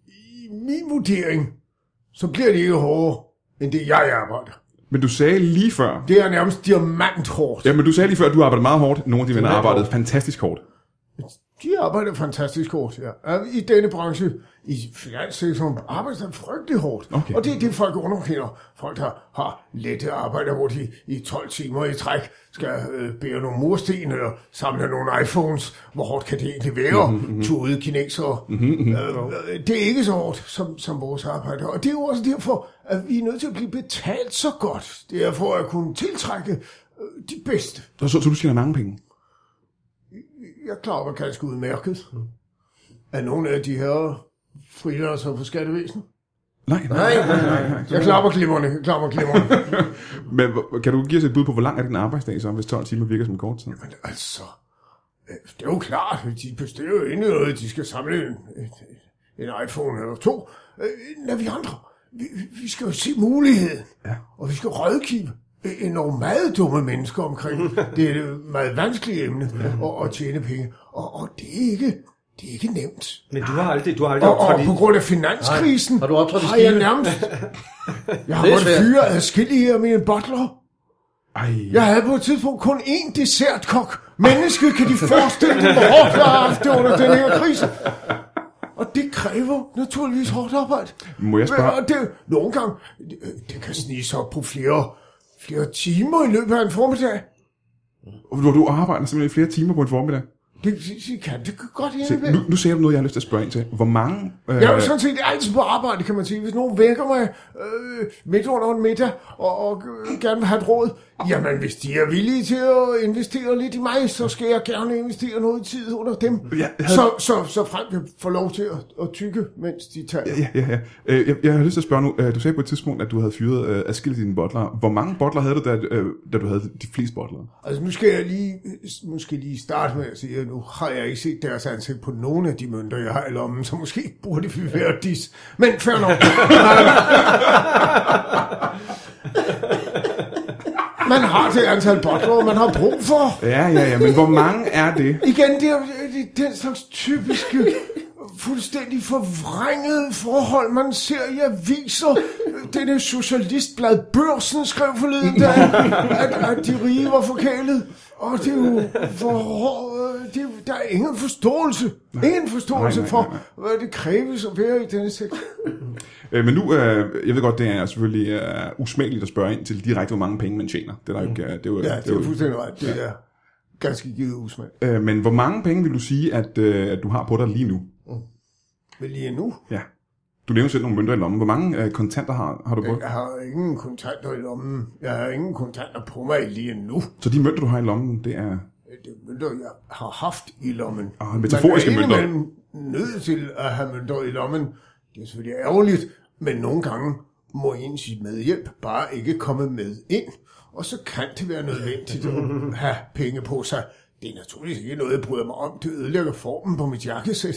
Speaker 4: I min vurdering, så bliver det ikke hårdere, end det jeg arbejder.
Speaker 1: Men du sagde lige før...
Speaker 4: Det er nærmest diamanthårdt.
Speaker 1: Ja, men du sagde lige før, at du arbejdede meget hårdt. Nogle af dine venner
Speaker 3: meget
Speaker 1: arbejdede
Speaker 3: hårdt.
Speaker 1: fantastisk hårdt.
Speaker 4: De arbejder fantastisk hårdt, ja. Er I denne branche, i finanssektoren, arbejder de frygtelig hårdt.
Speaker 1: Okay.
Speaker 4: Og det er det, folk underkender. Folk, der har lette arbejder, hvor de i 12 timer i træk skal øh, bære nogle mursten eller samle nogle iPhones. Hvor hårdt kan det egentlig være? Mm-hmm. Tude kinesere. Mm-hmm. Øh, øh, det er ikke så hårdt, som, som vores arbejde. Og det er jo også derfor, at vi er nødt til at blive betalt så godt. Det er for at kunne tiltrække øh, de bedste.
Speaker 1: Så, så, så du tjener mange penge.
Speaker 4: Jeg klarer mig ganske udmærket af nogle af de her freelancer på skattevæsenet.
Speaker 1: Nej, nej.
Speaker 3: nej, nej.
Speaker 4: Jeg klarer mig glimrende, jeg klarer mig glimrende.
Speaker 1: Men hvor- kan du give os et bud på, hvor lang er din arbejdsdag så, hvis 12 timer virker som kort tid?
Speaker 4: Men altså, øh, det er jo klart, at de bestiller jo ikke noget, de skal samle en, en, en iPhone eller to. Øh, Når vi andre, vi, vi skal jo se muligheden, ja. og vi skal rådgive øh, nogle meget dumme mennesker omkring. Det er et meget vanskeligt emne at, at tjene penge, og, og det, er ikke, det er ikke nemt.
Speaker 2: Men du har aldrig, du har aldrig
Speaker 4: Og, og
Speaker 2: optrådt i...
Speaker 4: på grund af finanskrisen
Speaker 3: Nej. Har du optrådt i
Speaker 4: har jeg
Speaker 3: Skive?
Speaker 4: nærmest... Jeg har
Speaker 3: Det er
Speaker 4: måttet
Speaker 3: svært.
Speaker 4: fyre adskillige af mine butler.
Speaker 1: Ej,
Speaker 4: Jeg havde på et tidspunkt kun én dessertkok. Mennesket kan de forestille dig, hvor hårdt jeg har haft det under den her krise. Og det kræver naturligvis hårdt arbejde.
Speaker 1: Må jeg spørge-
Speaker 4: Og det, nogle gange, øh, det kan snige sig op på flere, flere timer i løbet af en formiddag.
Speaker 1: hvor du arbejder simpelthen flere timer på en formiddag.
Speaker 4: Det, det, det kan det kan godt
Speaker 1: Se,
Speaker 4: hjælpe.
Speaker 1: nu, nu ser du noget, jeg har lyst til at spørge ind til. Hvor mange... Øh,
Speaker 4: Jeg er jo sådan set altid på arbejde, kan man sige. Hvis nogen vækker mig øh, midt under en middag og, og øh, gerne vil have et råd, jamen hvis de er villige til at investere lidt i mig, så skal jeg gerne investere noget tid under dem.
Speaker 1: Jeg havde-
Speaker 4: Så, så, så frem jeg får lov til at, at tykke, mens de tager.
Speaker 1: Ja, ja, ja. Øh, jeg, jeg har lyst til at spørge nu. Øh, du sagde på et tidspunkt, at du havde fyret øh, adskillige af dine bottler. Hvor mange bottler havde du, da, øh, da du havde de fleste bottler?
Speaker 4: Altså nu skal jeg lige, måske lige starte med at sige, at nu har jeg ikke set deres ansigt på nogen af de mønter, jeg har i lommen, så måske burde vi være dis. Men fair nok. man har det antal bottler, man har brug for.
Speaker 1: Ja, ja, ja. Men hvor mange er det?
Speaker 4: Igen, det er, jo- det er den slags typiske fuldstændig forvrængede forhold, man ser i aviser. Denne socialistblad Børsen skrev forleden dag, at, at de rige var forkælet. Og det er jo for hård- øh, det, er- der er ingen forståelse. Ingen forståelse
Speaker 1: Nej, nej, nej,
Speaker 4: for, hvad det kræves at være i denne sektor.
Speaker 1: Øh, men nu, øh, jeg ved godt, det er selvfølgelig øh, usmageligt at spørge ind til direkte, hvor mange penge man tjener. Det er der jo ikke... Øh, det er jo,
Speaker 4: Mm. Ja, det er jo fuldstændig ret. Det er ganske givet usmag.
Speaker 1: øh, men hvor mange penge vil du sige, at, øh, at du har på dig lige nu?
Speaker 4: Men lige nu,
Speaker 1: Ja. Du nævnte selv nogle mønter i lommen. Hvor mange øh, kontanter har, har du på?
Speaker 4: jeg har ingen kontanter i lommen. Jeg har ingen kontanter på mig lige nu.
Speaker 1: Så de mønter, du har i lommen, det er...
Speaker 4: det er mønter, jeg har haft i lommen.
Speaker 1: Ah, metaforiske
Speaker 4: Man er
Speaker 1: mønter.
Speaker 4: indimellem nødt til at have mønter i lommen. Det er selvfølgelig ærgerligt, men nogle gange må ens medhjælp bare ikke komme med ind, og så kan det være nødvendigt at have penge på sig. Det er naturligvis ikke noget, jeg bryder mig om. Det ødelægger formen på mit jakkesæt.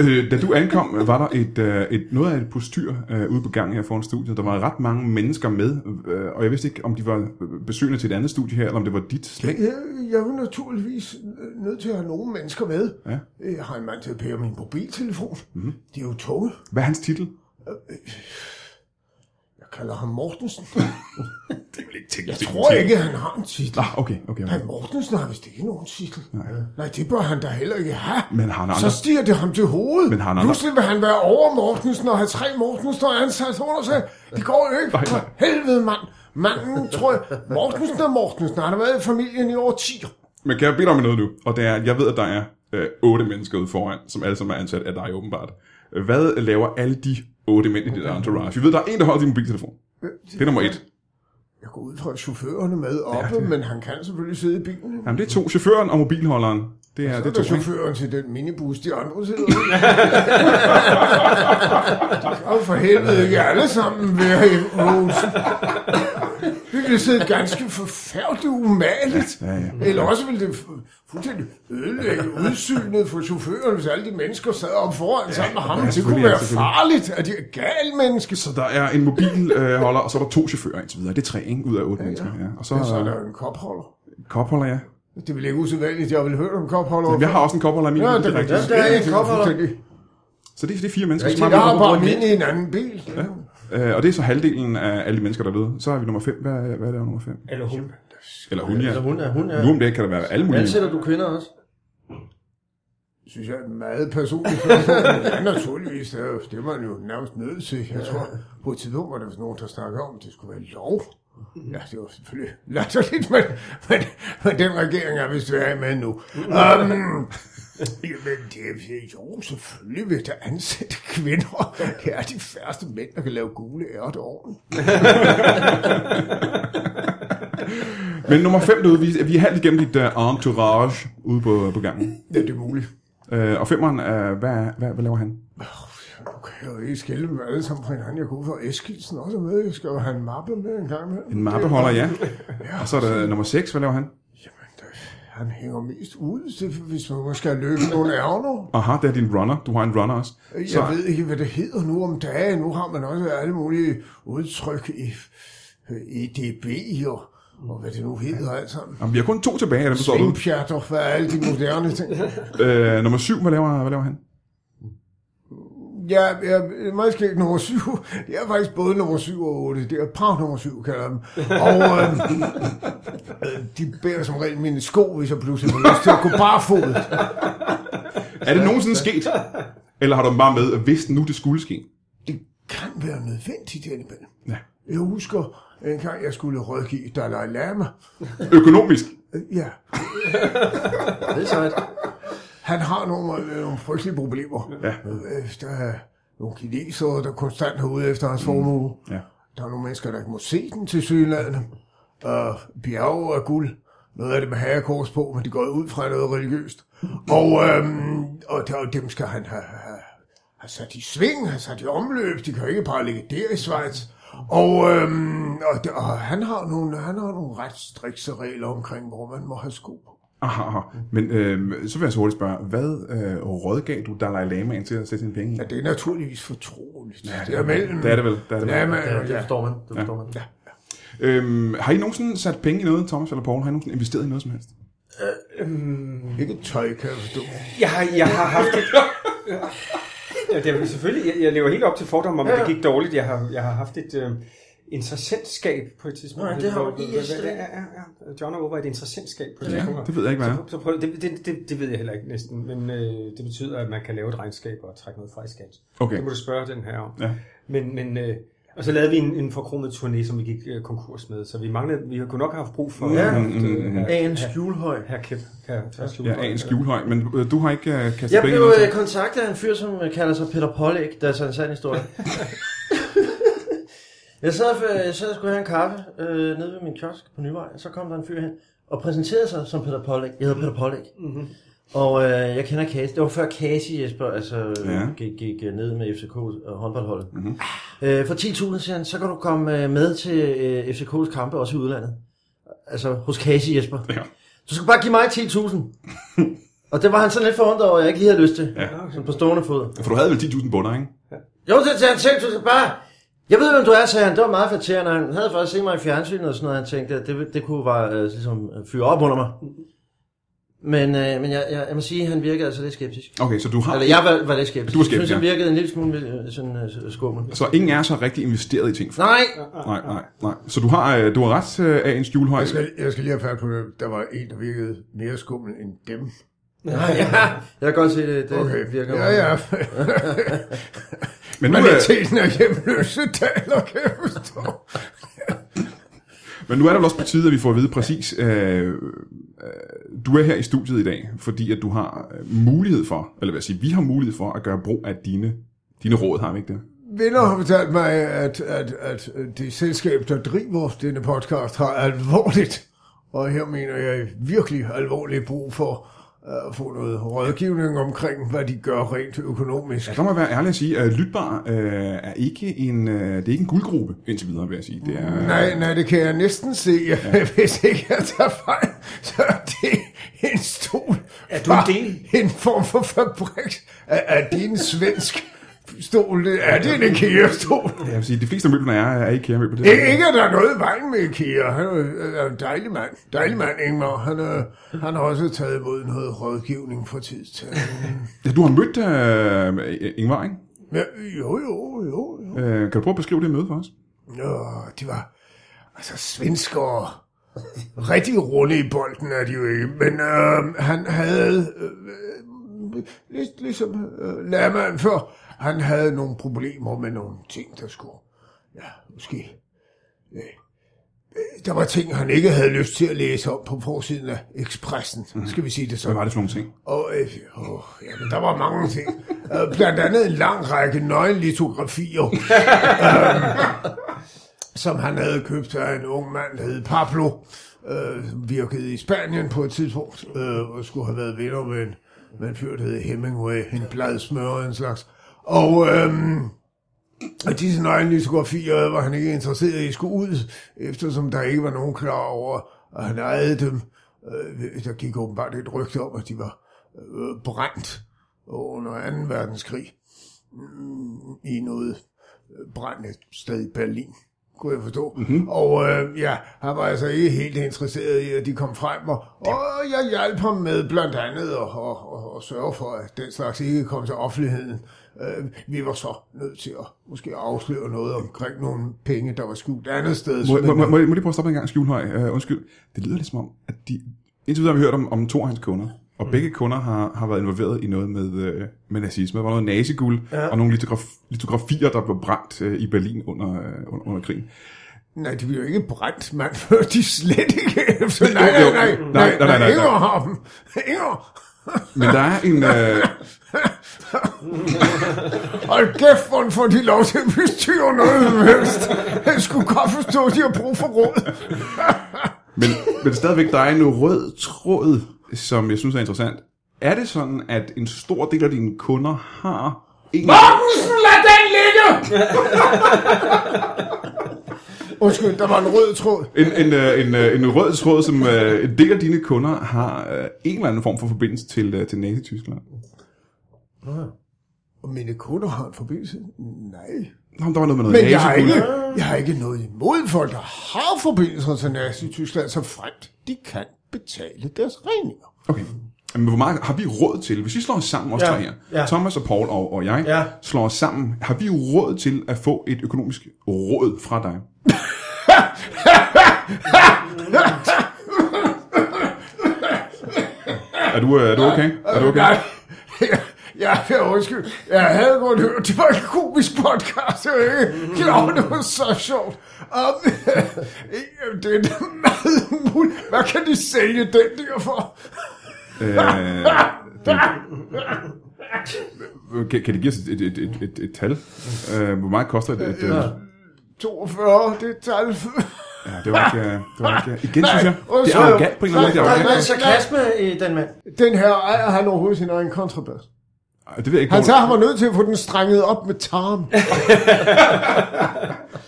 Speaker 1: Øh, da du ankom, øh, var der et, øh, et, noget af et postyr øh, ude på gangen her foran studiet. Der var ret mange mennesker med, øh, og jeg vidste ikke, om de var øh, besøgende til et andet studie her, eller om det var dit slæng.
Speaker 4: Jeg, jeg er jo naturligvis øh, nødt til at have nogle mennesker med.
Speaker 1: Ja. Mhm.
Speaker 4: Jeg har en mand til at pære min mobiltelefon. Mm. Det er jo tunge.
Speaker 1: Hvad er hans titel?
Speaker 4: Jeg kalder ham Mortensen.
Speaker 1: Det er vel ikke titel.
Speaker 4: Jeg tror ikke, han har en titel.
Speaker 1: Ah, okay, okay, okay.
Speaker 4: Han Mortensen har vist ikke nogen titel. Nej. Nej, det bør han da heller ikke have.
Speaker 1: Men har han andre-
Speaker 4: Så stiger det ham til hovedet.
Speaker 1: Men har han andre-
Speaker 4: Pludselig vil han være over Mortensen og have tre Mortensen ansat under sig. Det går jo ikke.
Speaker 1: Nej, nej.
Speaker 4: For helvede, mand. Manden, tror jeg, Mortensen og Mortensen han har været i familien i årtier.
Speaker 1: Men kan jeg bede dig om noget nu? Og det er, at jeg ved, at der er øh, otte mennesker ude foran, som alle sammen er ansat af dig åbenbart. Hvad laver alle de otte mænd i dit entourage? Vi ved, der er en, der holder din mobiltelefon.
Speaker 4: Øh,
Speaker 1: Det er nummer et.
Speaker 4: Jeg går ud fra at chaufførerne er med oppe, ja,
Speaker 1: det-
Speaker 4: men han kan selvfølgelig sidde i bilen.
Speaker 1: Jamen, det er to. Chaufføren og mobilholderen. Det er,
Speaker 4: Ja,
Speaker 1: det er
Speaker 4: det
Speaker 1: to.
Speaker 4: er
Speaker 1: ikke?
Speaker 4: chaufføren til den minibus, de andre sidder i. Og for helvede ikke alle sammen være i Rosen. Det ville sidde ganske forfærdeligt umageligt.
Speaker 1: Ja, ja.
Speaker 4: Eller også ville det fu- fuldstændig ødelægge udsynet for chaufføren, hvis alle de mennesker sad om foran sammen med ham. Det kunne
Speaker 1: selvfølgelig, ja,
Speaker 4: være
Speaker 1: selvfølgelig.
Speaker 4: farligt, at de er gale mennesker.
Speaker 1: Så der er en mobilholder, og så er der to chauffører indtil videre. Det er tre, ikke? Ud af otte mennesker. Ja. Og så,
Speaker 4: Så er
Speaker 1: er
Speaker 4: der
Speaker 1: der
Speaker 4: jo en kopholder.
Speaker 1: kopholder, ja.
Speaker 4: Det ville ikke usædvanligt, jeg ville høre om kopholder.
Speaker 1: Jeg har også en kopholder i min
Speaker 4: Ja,
Speaker 1: bil,
Speaker 4: det,
Speaker 1: det er
Speaker 4: det,
Speaker 1: rigtigt.
Speaker 4: det, det er en kopholder.
Speaker 1: Så det, det er fire mennesker.
Speaker 4: Jeg
Speaker 1: som har-
Speaker 4: har bare min i en anden bil. Ja.
Speaker 1: Øh, og det er så halvdelen af alle de mennesker, der døde. Så er vi nummer 5. Hvad, er- hvad er det nummer 5?
Speaker 2: Eller hun.
Speaker 1: Eller hun, ja.
Speaker 3: Eller Altså, hun er, hun er.
Speaker 1: Nu om dagen kan der være alle mulige.
Speaker 3: Ansætter du kvinder også?
Speaker 4: synes jeg er en meget personlig spørgsmål. ja, naturligvis, det er, jo- det er man jo nærmest nødt til. Jeg tror, på et tidspunkt var der vist nogen, der snakkede om, at det skulle være lov. Ja, det var selvfølgelig latterligt, men, men, men den regering er vist værd med nu. Um, Jamen, det er, jo, selvfølgelig vil der ansætte kvinder. Det er de færreste mænd, der kan lave gule ærter ordentligt.
Speaker 1: Men nummer 5 derude, vi, vi er halvt igennem dit uh, entourage ude på, på gangen.
Speaker 4: Ja, det er muligt.
Speaker 1: Uh, og femmeren, uh, hvad, er- hvad, hvad laver han?
Speaker 4: Nu kan jeg jo ikke skille dem alle sammen fra hinanden. Jeg kunne for Eskilsen også er med. Jeg skal jo have en mappe med en gang med.
Speaker 1: En mappeholder, ja. Og så er der nummer 6, hvad laver han?
Speaker 4: Jamen, der, han hænger mest ud, så hvis man måske har løbet nogle ærner.
Speaker 1: Aha, det er din runner. Du har en runner også.
Speaker 4: Jeg
Speaker 1: Så,
Speaker 4: ved ikke, hvad det hedder nu om dagen. Nu har man også alle mulige udtryk i øh, EDB og, og hvad det nu hedder alt sammen.
Speaker 1: jamen, vi har kun to tilbage af dem, der står derude.
Speaker 4: Svingpjatter, hvad er alle de moderne ting?
Speaker 1: Uh, nummer 7, hvad laver, hvad laver han?
Speaker 4: Ja, ja måske ikke nummer syv. Det er faktisk både nummer syv og otte. Det er par nummer syv, kalder jeg dem. Og øhm, øh, de bærer som regel mine sko, hvis jeg pludselig får lyst til at gå barfodet.
Speaker 1: Er det nogensinde sket? Eller har du dem bare med, hvis nu det skulle ske?
Speaker 4: det kan være nødvendigt indimellem.
Speaker 1: Ja.
Speaker 4: Jeg husker, en gang jeg skulle rådgive Dalai Lama.
Speaker 1: Økonomisk?
Speaker 4: Øh, Ja,
Speaker 3: Det er sejt.
Speaker 4: han har nogle, øh, nogle frygtelige problemer.
Speaker 1: Ja.
Speaker 4: Øh, Der er nogle kinesere, der konstant er ude efter hans formue.
Speaker 1: Mm. Ja.
Speaker 4: Der er nogle mennesker, der ikke må se den til sydlandet. Og bjerge er guld. Noget af det med hagekors på, men de går ud fra noget religiøst. Og, øhm, og der, dem skal han have, have, have sat i sving, have sat i omløb. De kan jo ikke bare ligge der i Schweiz. Og, øhm, og, der, og han, har nogle, han har nogle ret strikse regler omkring, hvor man må have sko på.
Speaker 1: Aha, aha. Men øh, så vil jeg så hurtigt spørge, hvad øh, rådgav du Dalai Lamaen til at sætte sine penge i?
Speaker 4: Ja, det er naturligvis fortroligt. Ja, det er mellem...
Speaker 1: Det er det vel. Det er det vel.
Speaker 4: Ja, men,
Speaker 3: Ja, det
Speaker 4: ja.
Speaker 3: forstår man. Det forstår man. Ja.
Speaker 1: Øhm, har I nogensinde sat penge i noget, Thomas eller Paul? Har I nogensinde investeret i noget som helst?
Speaker 4: Ikke tøj, kan jeg forstå.
Speaker 2: Jeg har, jeg har haft... Ja, det er vel selvfølgelig... Jeg, jeg lever helt op til fordomme om, at det gik dårligt. Jeg har, jeg har haft et øh, interessentskab på et tidspunkt.
Speaker 3: Nej, det har
Speaker 2: Hvor-
Speaker 3: I
Speaker 2: hvad-
Speaker 3: også.
Speaker 2: hvad- Ja, ja, ja. John og Over er et interessentskab på et tidspunkt.
Speaker 1: det ved jeg ikke, hvad
Speaker 2: så,
Speaker 1: er.
Speaker 2: så prøv, det, det, det, det ved jeg heller ikke næsten, men øh, det betyder, at man kan lave et regnskab og trække noget fra i skat.
Speaker 1: Okay.
Speaker 2: Det må du spørge den her om.
Speaker 1: Ja.
Speaker 2: Men, men, øh, og så lavede vi en, en forkromet turné, som vi gik øh, konkurs med, så vi manglede, vi kunne nok have haft brug for...
Speaker 3: Ja.
Speaker 2: øh, her-
Speaker 3: Agen Skjulhøj.
Speaker 2: Her Kip.
Speaker 1: Mm, Ja, A. en skjulhøj, men øh, du har ikke øh, kastet penge
Speaker 3: Jeg blev
Speaker 1: i noget?
Speaker 3: øh, kontaktet af en fyr, som øh, kalder sig Peter Pollæg, der er sådan en sand historie. jeg sad, øh, sad og skulle have en kaffe øh, nede ved min kiosk på Nyvej, og så kom der en fyr hen og præsenterede sig som Peter Pollæg. Jeg hedder Peter Pollæg. Mm-hmm. Og øh, jeg kender Kasi. Det var før Kasi Jesper altså,
Speaker 1: Ja.
Speaker 3: ja. gik, gik øh, ned med FCK og håndboldholdet. Mm-hmm. Øh, for 10.000 siger han, så kan du komme øh, med til øh, FCK's kampe også i udlandet. Altså hos Kasi Jesper.
Speaker 1: Ja.
Speaker 3: Du skal bare give mig 10.000. og det var han sådan lidt forundret over, at jeg ikke lige havde lyst til. Ja. Sådan på stående fod.
Speaker 1: For du havde vel 10.000 bunder, ikke?
Speaker 3: Jo, det sagde han selv, du skal bare... Jeg ved, hvem du er, sagde han. Det var meget flatterende. Han havde faktisk set mig i fjernsynet og sådan noget. Han tænkte, at det, det kunne bare øh, ligesom, øh, fyre op under mig. Men, øh, men jeg, jeg, jeg, må sige, at han virkede altså lidt skeptisk.
Speaker 1: Okay, så du har...
Speaker 3: Eller jeg var, var lidt skeptisk.
Speaker 1: Du var skeptisk,
Speaker 3: Jeg synes, han
Speaker 1: ja.
Speaker 3: virkede en lille smule øh, sådan, øh, skummel.
Speaker 1: Så ingen er så rigtig investeret i ting?
Speaker 3: Nej,
Speaker 1: Nej, nej, nej. Så du har, øh, du har ret, øh, A. en skjulhøj?
Speaker 4: Jeg skal, jeg skal lige have fat på det. Der var en, der virkede mere skummel end dem.
Speaker 3: nej, ja. Jeg kan godt se, det, det okay. virker.
Speaker 4: ja, ja.
Speaker 1: Men nu, øh,
Speaker 4: Mentaliteten er hjemløse taler, kan jeg forstå.
Speaker 1: Men nu er det vel også på tide, at vi får at vide præcis, øh, øh, du er her i studiet i dag, fordi at du har øh, mulighed for, eller hvad sige, vi har mulighed for at gøre brug af dine, dine råd, har vi ikke det?
Speaker 4: Venner har fortalt mig, at, at, at det selskab, der driver denne podcast, har alvorligt, og her mener jeg virkelig alvorligt brug for øh, få noget rådgivning omkring, hvad de gør rent økonomisk.
Speaker 1: Ja, der må jeg være ærlig at sige, at Lytbar øh, er ikke en, øh, det er ikke en guldgruppe indtil videre, vil jeg sige. Det er,
Speaker 4: Nej, nej, det kan jeg næsten se, ja. hvis ikke jeg tager fejl, så er det en stol.
Speaker 2: Er du en
Speaker 4: fra
Speaker 2: del?
Speaker 4: En form for fabrik. Er, er det en svensk stol? Er det en IKEA-stol?
Speaker 1: Jeg vil sige, de fleste af møblerne er, er IKEA-møbler. Det er-
Speaker 4: Ikke, ikke at der er noget i vejen med IKEA. Han er jo- er en dejlig mand. Dejlig mand, Ingmar. Han, er, han har også taget imod noget rådgivning fra tid til anden.
Speaker 1: Ja, du har mødt øh, Ingvar, ikke?
Speaker 4: Ja, jo, jo, jo, jo.
Speaker 1: Øh, kan du prøve at beskrive det møde for os?
Speaker 4: Nå, de var altså svenskere. Rigtig runde i bolden er de jo ikke, men øh, han havde, øh, lig, ligesom øh, lærmanden før, han havde nogle problemer med nogle ting, der skulle, ja, måske, øh, øh, der var ting, han ikke havde lyst til at læse om på forsiden af Expressen, skal vi sige det
Speaker 1: Hvad
Speaker 4: sådan.
Speaker 1: var det for nogle ting?
Speaker 4: Og øh, åh, jamen, der var mange ting. Øh, blandt andet en lang række nøgenlitografier, øh, som han havde købt af en ung mand, der hed Pablo, øh, som virkede i Spanien på et tidspunkt, øh, og skulle have været venner med en, med en fyr, der hed Hemingway, en bladsmør og en slags. Og... Øh, og disse nøgenlitografier var han ikke interesseret i skulle ud, eftersom der ikke var nogen klar over, at han ejede dem. Øh, Der gik åbenbart et rygte om, at de var øh, brændt under 2. verdenskrig Mm, i noget øh, brændt et sted i Berlin, kunne jeg forstå.
Speaker 1: Mhm.
Speaker 4: Mm-hmm. Og øh, ja, han var altså ikke helt interesseret i, at de kom frem, og, og jeg hjalp ham med blandt andet at og, og, og sørge for, at den slags ikke kom til offentligheden. Øh, vi var så nødt til at måske afsløre noget omkring nogle penge, der var skjult andet sted.
Speaker 1: Må, må,
Speaker 4: Men-
Speaker 1: må, må, jeg- må lige prøve at stoppe en gang, Skjulhøj? Uh, undskyld. Det lyder lidt som om, at de... Indtil videre har vi hørt om, om to af hans kunder. Og begge kunder har, har været involveret i noget med, øh, med nazisme. Der var noget naziguld ja. og nogle litograf, litografier, der blev brændt øh, i Berlin under, øh, under, under krigen.
Speaker 4: Nej, de bliver jo ikke brændt, mand, før de slet ikke efter. Nej,
Speaker 1: Jo, jo.
Speaker 4: nej, nej,
Speaker 1: Nej,
Speaker 4: nej,
Speaker 1: nej, nej,
Speaker 4: nej,
Speaker 1: nej.
Speaker 4: nej, Inger har dem. Inger,
Speaker 1: Men der er en... Øh,
Speaker 4: hold kæft, hvor får de lov til at bestyre noget som helst. Jeg skulle godt forstå, at de har brug for råd.
Speaker 1: men, men stadigvæk, der er en rød tråd, som jeg synes er interessant. Er det sådan, at en stor del af dine kunder har... En,
Speaker 4: Bamsen, lad den ligge! Undskyld, der var en rød tråd.
Speaker 1: En, en, øh, en, øh, en rød tråd, som øh, en del af dine kunder har øh, en eller anden form for forbindelse til, øh, til Nazi-Tyskland.
Speaker 4: Og mine kunder har en forbindelse? Nej.
Speaker 1: Nå, men der var noget med noget
Speaker 4: Men jeg har,
Speaker 1: naziguld.
Speaker 4: ikke, jeg har ikke noget imod folk, der har forbindelser til Nazi-Tyskland, så fremt de kan betale deres regninger.
Speaker 1: Okay. Men hvor meget har vi råd til, hvis vi slår os sammen, os
Speaker 2: Ja,
Speaker 1: tre her,
Speaker 2: ja.
Speaker 1: Thomas og Paul og, og jeg,
Speaker 2: Ja.
Speaker 1: slår os sammen, har vi råd til at få et økonomisk råd fra dig? er, du, øh, er du okay? Er du okay?
Speaker 4: Nej, jeg, jeg, jeg, undskyld. Jeg havde godt hørt, det var en komisk podcast, jeg var ikke klar, over, det var så sjovt. Um, det er da meget muligt. Hvad kan de sælge den der for?
Speaker 1: Øh, det, kan, kan de give os et, et, et, et, et tal? Øh, hvor meget koster et... et øh,
Speaker 4: 42, det er tal.
Speaker 1: ja, det var ikke... øh, Det var ikke øh, igen,
Speaker 4: Nej,
Speaker 1: synes jeg. Det er
Speaker 4: undskyld.
Speaker 1: arrogant på en eller anden måde. Det er
Speaker 3: Der
Speaker 4: Nej, nej,
Speaker 1: arrogant.
Speaker 3: er
Speaker 4: nej.
Speaker 3: noget sarkasme i den mand.
Speaker 4: Den her ejer han overhovedet sin egen kontrabas.
Speaker 1: Ej, Det ved jeg ikke.
Speaker 4: Han
Speaker 1: Paul.
Speaker 4: sagde, han var nødt til at få den strenget op med tarm.
Speaker 1: Det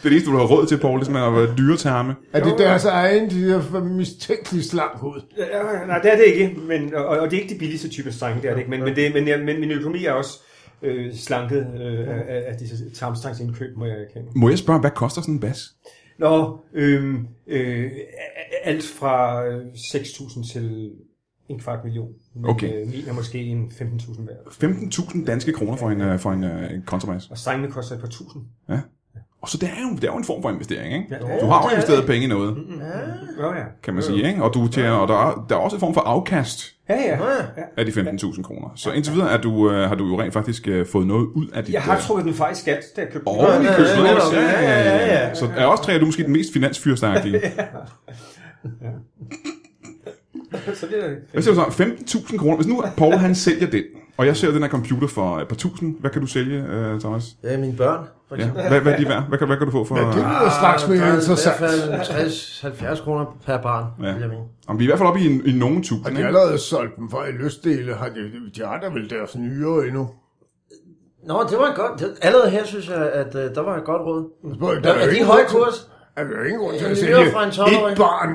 Speaker 1: er det eneste, du har råd til, Paul, ligesom at være dyretarme.
Speaker 4: Er det deres egen, de der mistænkelige slang hoved?
Speaker 2: Ja, nej, det er det ikke, men, og, og det er ikke de billigste typer strenge, det er det ikke, men, men, det, men, jeg, men min økonomi er også øh, slanket øh, af, af- af disse tarmstrangsindkøb, må jeg erkende.
Speaker 1: Må jeg spørge, hvad koster sådan en bas?
Speaker 2: Nå, øh, øh, alt fra øh, 6.000 til en kvart million, men
Speaker 1: Okay.
Speaker 2: okay. øh, min er måske en 15.000 værd.
Speaker 1: 15.000 danske kroner for en, øh, for en, øh, en kontrabas.
Speaker 2: Og strengene koster et par tusind.
Speaker 1: Og så det er, jo, det er jo en form for investering, ikke?
Speaker 2: Ja, det
Speaker 1: Du
Speaker 2: er
Speaker 1: har jo
Speaker 3: det.
Speaker 1: investeret penge i noget,
Speaker 3: Mm. Ah.
Speaker 2: Nå ja.
Speaker 1: kan man sige, ikke? Og, du tjener, og der, er, der er også en form for afkast
Speaker 2: Ja, ja. ja.
Speaker 1: af de 15.000 kroner. Så indtil videre er du, øh, har du jo rent faktisk øh, fået noget ud af dit...
Speaker 2: Jeg har
Speaker 1: øh,
Speaker 2: trukket den fra i skat, da jeg købte den.
Speaker 1: Åh,
Speaker 3: Ja,
Speaker 1: ja,
Speaker 3: ja,
Speaker 1: købslås.
Speaker 3: ja,
Speaker 1: Ja,
Speaker 3: ja,
Speaker 1: ja,
Speaker 3: ja,
Speaker 1: ja, ja. Så er også tre, er du måske den mest finansfyrstærkige.
Speaker 2: Så bliver det...
Speaker 1: Hvad siger du så? 15.000 kroner. Hvis nu Paul han sælger den, Og jeg ser den her computer for øh, et par tusind. Hvad kan du sælge, øh, Thomas?
Speaker 3: Ja, mine børn, for
Speaker 1: Ja.
Speaker 3: eksempel.
Speaker 1: Hvad, hvad er de værd? Hvad kan, hvad kan du få for...
Speaker 4: Men Altså, det
Speaker 1: Ja,
Speaker 4: lyder straks
Speaker 3: Der er
Speaker 4: mere
Speaker 3: i
Speaker 4: interessant.
Speaker 3: hvert fald 60-70 kroner per barn,
Speaker 1: Ja.
Speaker 3: ja. vil jeg mene.
Speaker 1: om vi er i hvert fald oppe i, en, i nogen
Speaker 4: Har
Speaker 1: tusind,
Speaker 4: de
Speaker 1: ikke?
Speaker 4: allerede solgt dem for i løsdele? Har de, de har da vel deres nyere endnu?
Speaker 3: Nå, det var godt. Det, allerede her synes jeg, at øh, der var et godt råd.
Speaker 4: Spørg, Der
Speaker 3: Der, er
Speaker 4: jo
Speaker 3: de
Speaker 4: ingen
Speaker 3: høj
Speaker 4: grund til-
Speaker 3: kurs?
Speaker 4: Er der jo ingen grund til
Speaker 3: En
Speaker 4: at
Speaker 3: nyere
Speaker 4: sælge
Speaker 3: fra en 12-årig.
Speaker 4: et barn?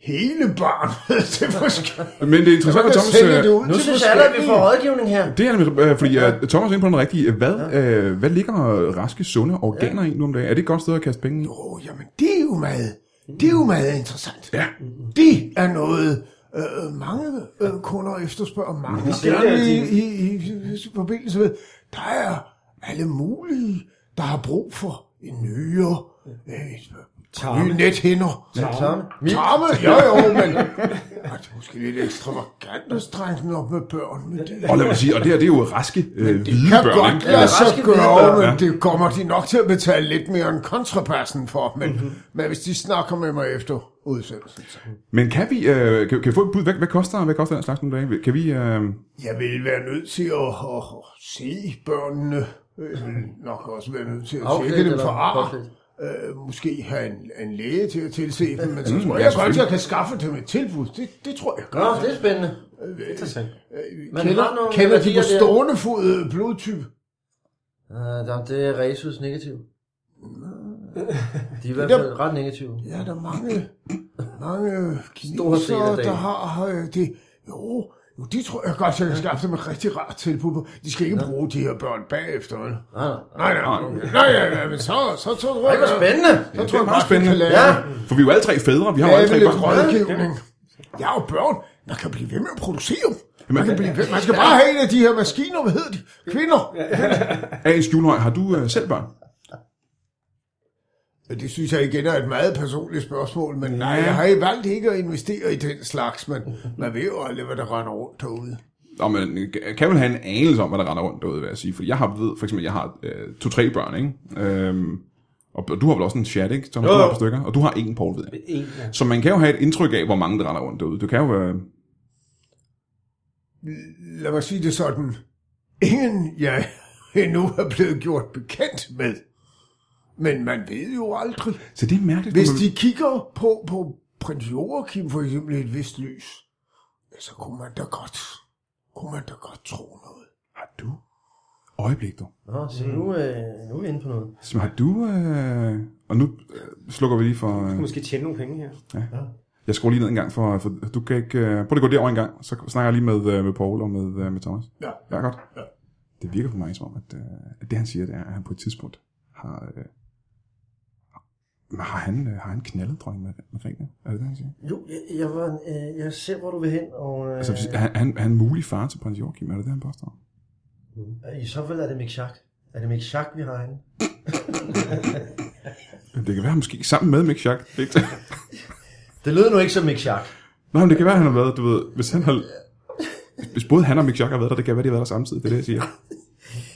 Speaker 4: Hele barnet til forskellige.
Speaker 1: Men det er interessant, at Thomas... øh,
Speaker 4: ud
Speaker 3: Nu synes jeg allerede, at vi får rådgivning her.
Speaker 1: Det er nemlig, øh, fordi øh, Thomas er inde på den rigtige. Hvad, øh, hvad ligger raske, sunde organer i nu om dagen? Er det et godt sted at kaste penge i?
Speaker 4: Åh, oh, jamen det er jo meget, det er jo meget interessant. Ja. Det er noget, øh, mange øh, kunder efterspørger, mange
Speaker 2: sælger
Speaker 4: gerne i,
Speaker 2: de-
Speaker 4: i, i, i forbindelse med, der er alle mulige, der har brug for en nyere, øh, nye
Speaker 2: Tarme.
Speaker 4: nethinder.
Speaker 3: Samme. Min,
Speaker 4: Tarme, jo jo, men Ej, det er måske lidt ekstravagant at strenge den op med børn, men det,
Speaker 1: Og lad mig sige, og det her, det er jo raske, øh, hvide
Speaker 4: kan
Speaker 1: børn,
Speaker 4: godt
Speaker 1: ikke?
Speaker 4: lade sig
Speaker 3: Raske
Speaker 4: gøre,
Speaker 3: hvidebørn,
Speaker 4: men
Speaker 1: ja.
Speaker 4: det kommer de nok til at betale lidt mere end kontrapassen for. Men, mm-hmm. men hvis de snakker med mig efter udsendelsen, så...
Speaker 1: Men kan vi, øh, kan, kan vi få et bud? Hvad, hvad, koster, hvad koster den slags nogle dage? Kan vi... Øh,
Speaker 4: Jeg vil være nødt til at, at, at se børnene. Jeg vil nok også være nødt til at
Speaker 3: Afklædt
Speaker 4: tjekke dem
Speaker 3: eller
Speaker 4: for ar.
Speaker 3: påklædt?
Speaker 4: Øh, måske have en, en læge til at tilse dem, men så
Speaker 1: Mm,
Speaker 4: tror
Speaker 1: ja,
Speaker 4: jeg godt,
Speaker 1: selvfølgelig.
Speaker 4: jeg kan skaffe dem et tilbud. Det, det tror jeg
Speaker 3: Nå,
Speaker 4: godt.
Speaker 3: det er spændende.
Speaker 2: Interessant.
Speaker 3: Man har
Speaker 4: Kender,
Speaker 3: nogle
Speaker 4: kender de
Speaker 3: værdier
Speaker 4: på
Speaker 3: der.
Speaker 4: stående fod øh, blodtype?
Speaker 3: Uh, der, det er Resus negativ. De er i hvert
Speaker 4: Det er
Speaker 3: fald ret negative.
Speaker 4: Ja, der er mange, mange
Speaker 3: del af
Speaker 4: kinesere,
Speaker 3: dagen.
Speaker 4: der har øh, det. Jo, jo, de tror jeg godt, jeg kan skaffe dem et rigtig rart tilbud på. De skal ikke bruge de her børn bagefter, vel?
Speaker 3: Nej, nej.
Speaker 4: Nej, nej, okay. nej, nej, nej, men så, så, så tror
Speaker 3: Ej,
Speaker 4: jeg,
Speaker 3: hvor spændende.
Speaker 4: så tror jeg
Speaker 1: meget
Speaker 4: godt, vi
Speaker 1: spændende.
Speaker 4: kan lave,
Speaker 3: Ja.
Speaker 1: for vi er jo alle tre fædre, vi har jo alle
Speaker 4: lave
Speaker 1: tre
Speaker 4: lidt
Speaker 1: børn.
Speaker 4: rådgivning. Jeg har jo børn, man kan blive ved med at producere. Man,
Speaker 1: Jamen,
Speaker 4: kan blive ved. man skal bare have en af de her maskiner, hvad hedder de? Kvinder.
Speaker 1: Agens Julehøj, har du øh, selv børn?
Speaker 4: Ja, Det synes jeg igen er et meget personligt spørgsmål, men nej, jeg har i valgt ikke at investere i den slags, men man ved jo aldrig, hvad der render rundt derude.
Speaker 1: Nå, men øh, kan vel have en anelse om, hvad der render rundt derude, vil jeg sige. Fordi jeg har ved, for eksempel, jeg har øh, to-tre børn, ikke? Øhm, og, og du har vel også en chat, ikke? Som du har et par stykker, og du har en, Paul, ved jeg.
Speaker 2: En, ja.
Speaker 1: Så man kan jo have et indtryk af, hvor mange der render rundt derude. Du kan jo... Øh,
Speaker 4: lad mig sige det sådan, ingen jeg endnu er blevet gjort bekendt med. Men man ved jo aldrig.
Speaker 1: så det er mærkeligt.
Speaker 4: Hvis
Speaker 1: når man-
Speaker 4: de kigger på, på prins Joachim for eksempel i et vist lys, ja, så kunne man da godt, kunne man da godt tro noget.
Speaker 1: Har du... Øjeblik, du.
Speaker 3: Nå, så nu, øh, nu er vi inde på noget.
Speaker 1: Så har du... Øh, og nu øh, slukker vi lige for...
Speaker 2: Du
Speaker 1: Øh,
Speaker 2: kan måske tjene nogle penge her.
Speaker 1: jeg skruer lige ned en gang, for, for du kan ikke... Øh, prøv lige at gå derover en gang, så snakker jeg lige med, øh, med Paul og med, øh, med Thomas.
Speaker 4: Ja.
Speaker 1: Ja, godt. Ja. Det virker for mig som om, at, øh, at det han siger, det er, at han på et tidspunkt har... Øh, men har han, øh, har han knaldet dronning med, med ringen? Er det det, han siger?
Speaker 3: Jo, jeg, jeg, var, øh, jeg ser, hvor du vil hen, og øh,
Speaker 1: Altså, hvis- er, han- er han, er han mulig far til prins Joachim? Er det det, han påstår?
Speaker 3: øh, i så fald er det Mick Schack. Er det Mick Schack, vi har inde?
Speaker 1: Det kan være, han måske sammen med Mick Jagd.
Speaker 3: Det lød nu ikke som Mick Schack.
Speaker 1: Nej, men det kan være, han har været, du ved, hvis han har... Hvis både han og Mick Jagd har været der, det kan være, de har været der samtidig, det er det, jeg siger.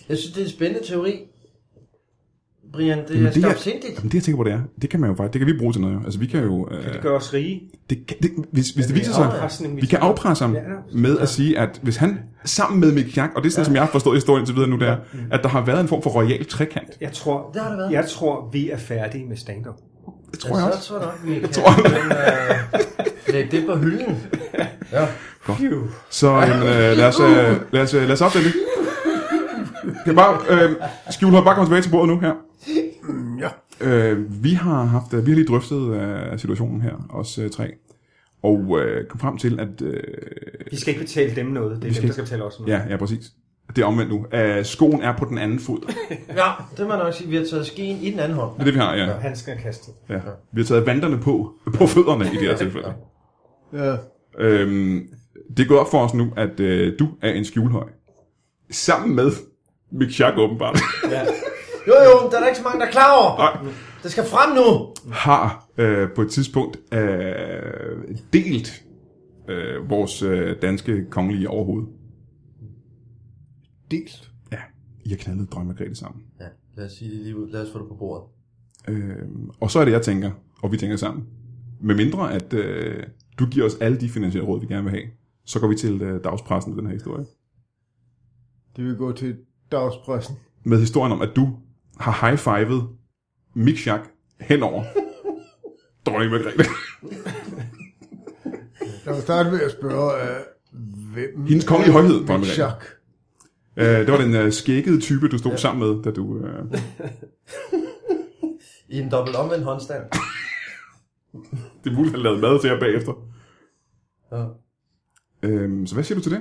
Speaker 3: Jeg synes, det er en spændende teori. Brian, det
Speaker 1: Jamen,
Speaker 3: er
Speaker 1: det,
Speaker 3: skarpsindigt.
Speaker 1: jamen, det, jeg tænker på, det er, det kan man jo faktisk, det kan vi bruge til noget, jo. Altså, vi kan jo... Øh,
Speaker 2: Det gør os rige.
Speaker 1: det, kan- det, hvis, hvis det
Speaker 3: det er
Speaker 1: viser sig...
Speaker 2: afpresning, vi
Speaker 1: Vi kan
Speaker 2: tager.
Speaker 1: afpresse ham
Speaker 2: Ja, ja.
Speaker 1: med at sige, at hvis han sammen med Mick Jagd, og det er sådan, som jeg har forstået historien indtil videre nu, det er, at der har været en form for royal trekant.
Speaker 2: Jeg tror,
Speaker 3: Det har det været.
Speaker 2: jeg tror, vi er færdige med stand-up.
Speaker 1: Det tror jeg
Speaker 3: ja,
Speaker 1: også.
Speaker 3: Så tror Altså, jeg nok, vi kan
Speaker 1: tror jeg.
Speaker 3: men, øh, lægge det på hylden. Ja.
Speaker 1: Så jamen, øh, lad, os, øh, lad, os, øh, lad os opdele det. Kan bare, øh, Skjulhøj, bare komme tilbage til bordet nu her.
Speaker 4: Mm, ja.
Speaker 1: Øh, vi har haft, vi har lige drøftet øh, situationen her, os øh, tre, og øh, kom frem til, at øh,
Speaker 2: Vi skal ikke betale dem noget. Det er dem,
Speaker 1: skal
Speaker 2: der skal betale os noget.
Speaker 1: Ja, ja, præcis. Det er omvendt nu. Uh, skoen er på den anden fod. Det
Speaker 3: ja, det må jeg nok sige. Vi har taget skien i den anden hånd.
Speaker 1: er det, vi har, ja.
Speaker 2: Han skal have kastet.
Speaker 1: ja. Vi har taget vanderne på, på fødderne i det her tilfælde.
Speaker 4: Ja.
Speaker 1: Øhm, det er gået op for os nu, at øh, du er en skjulhøj. Sammen med Mick Jagd åbenbart,
Speaker 3: Jo, jo, der er der ikke så mange, der er klar over.
Speaker 1: Nej.
Speaker 3: Det skal frem nu.
Speaker 1: har øh, på et tidspunkt øh, delt øh, vores øh, danske kongelige overhoved.
Speaker 4: Dels.
Speaker 1: Ja, I har knaldet Drømme Margrethe sammen.
Speaker 3: Ja, lad os sige det lige ud. Lad os få det på bordet.
Speaker 1: Øh, og så er det, jeg tænker, og vi tænker sammen. Med mindre, at øh, du giver os alle de finansielle råd, vi gerne vil have, så går vi til øh, dagspressen med den her historie.
Speaker 4: Det vil gå til dagspressen.
Speaker 1: med historien om, at du har high-fivet Mikchak henover dronning Margrethe.
Speaker 4: Lad mig starte med at spørge, øh, hvem...
Speaker 1: Hendes kongelige højhed, dronning
Speaker 4: Margrethe.
Speaker 1: Margrethe. Øh, det var den øh, skækkede type, du stod ja. sammen med, da du... Øh,
Speaker 3: I en dobbelt omvendt håndstand.
Speaker 1: det er muligt, at lavede mad til jer bagefter.
Speaker 3: Ja.
Speaker 1: Øh, så hvad siger du til det?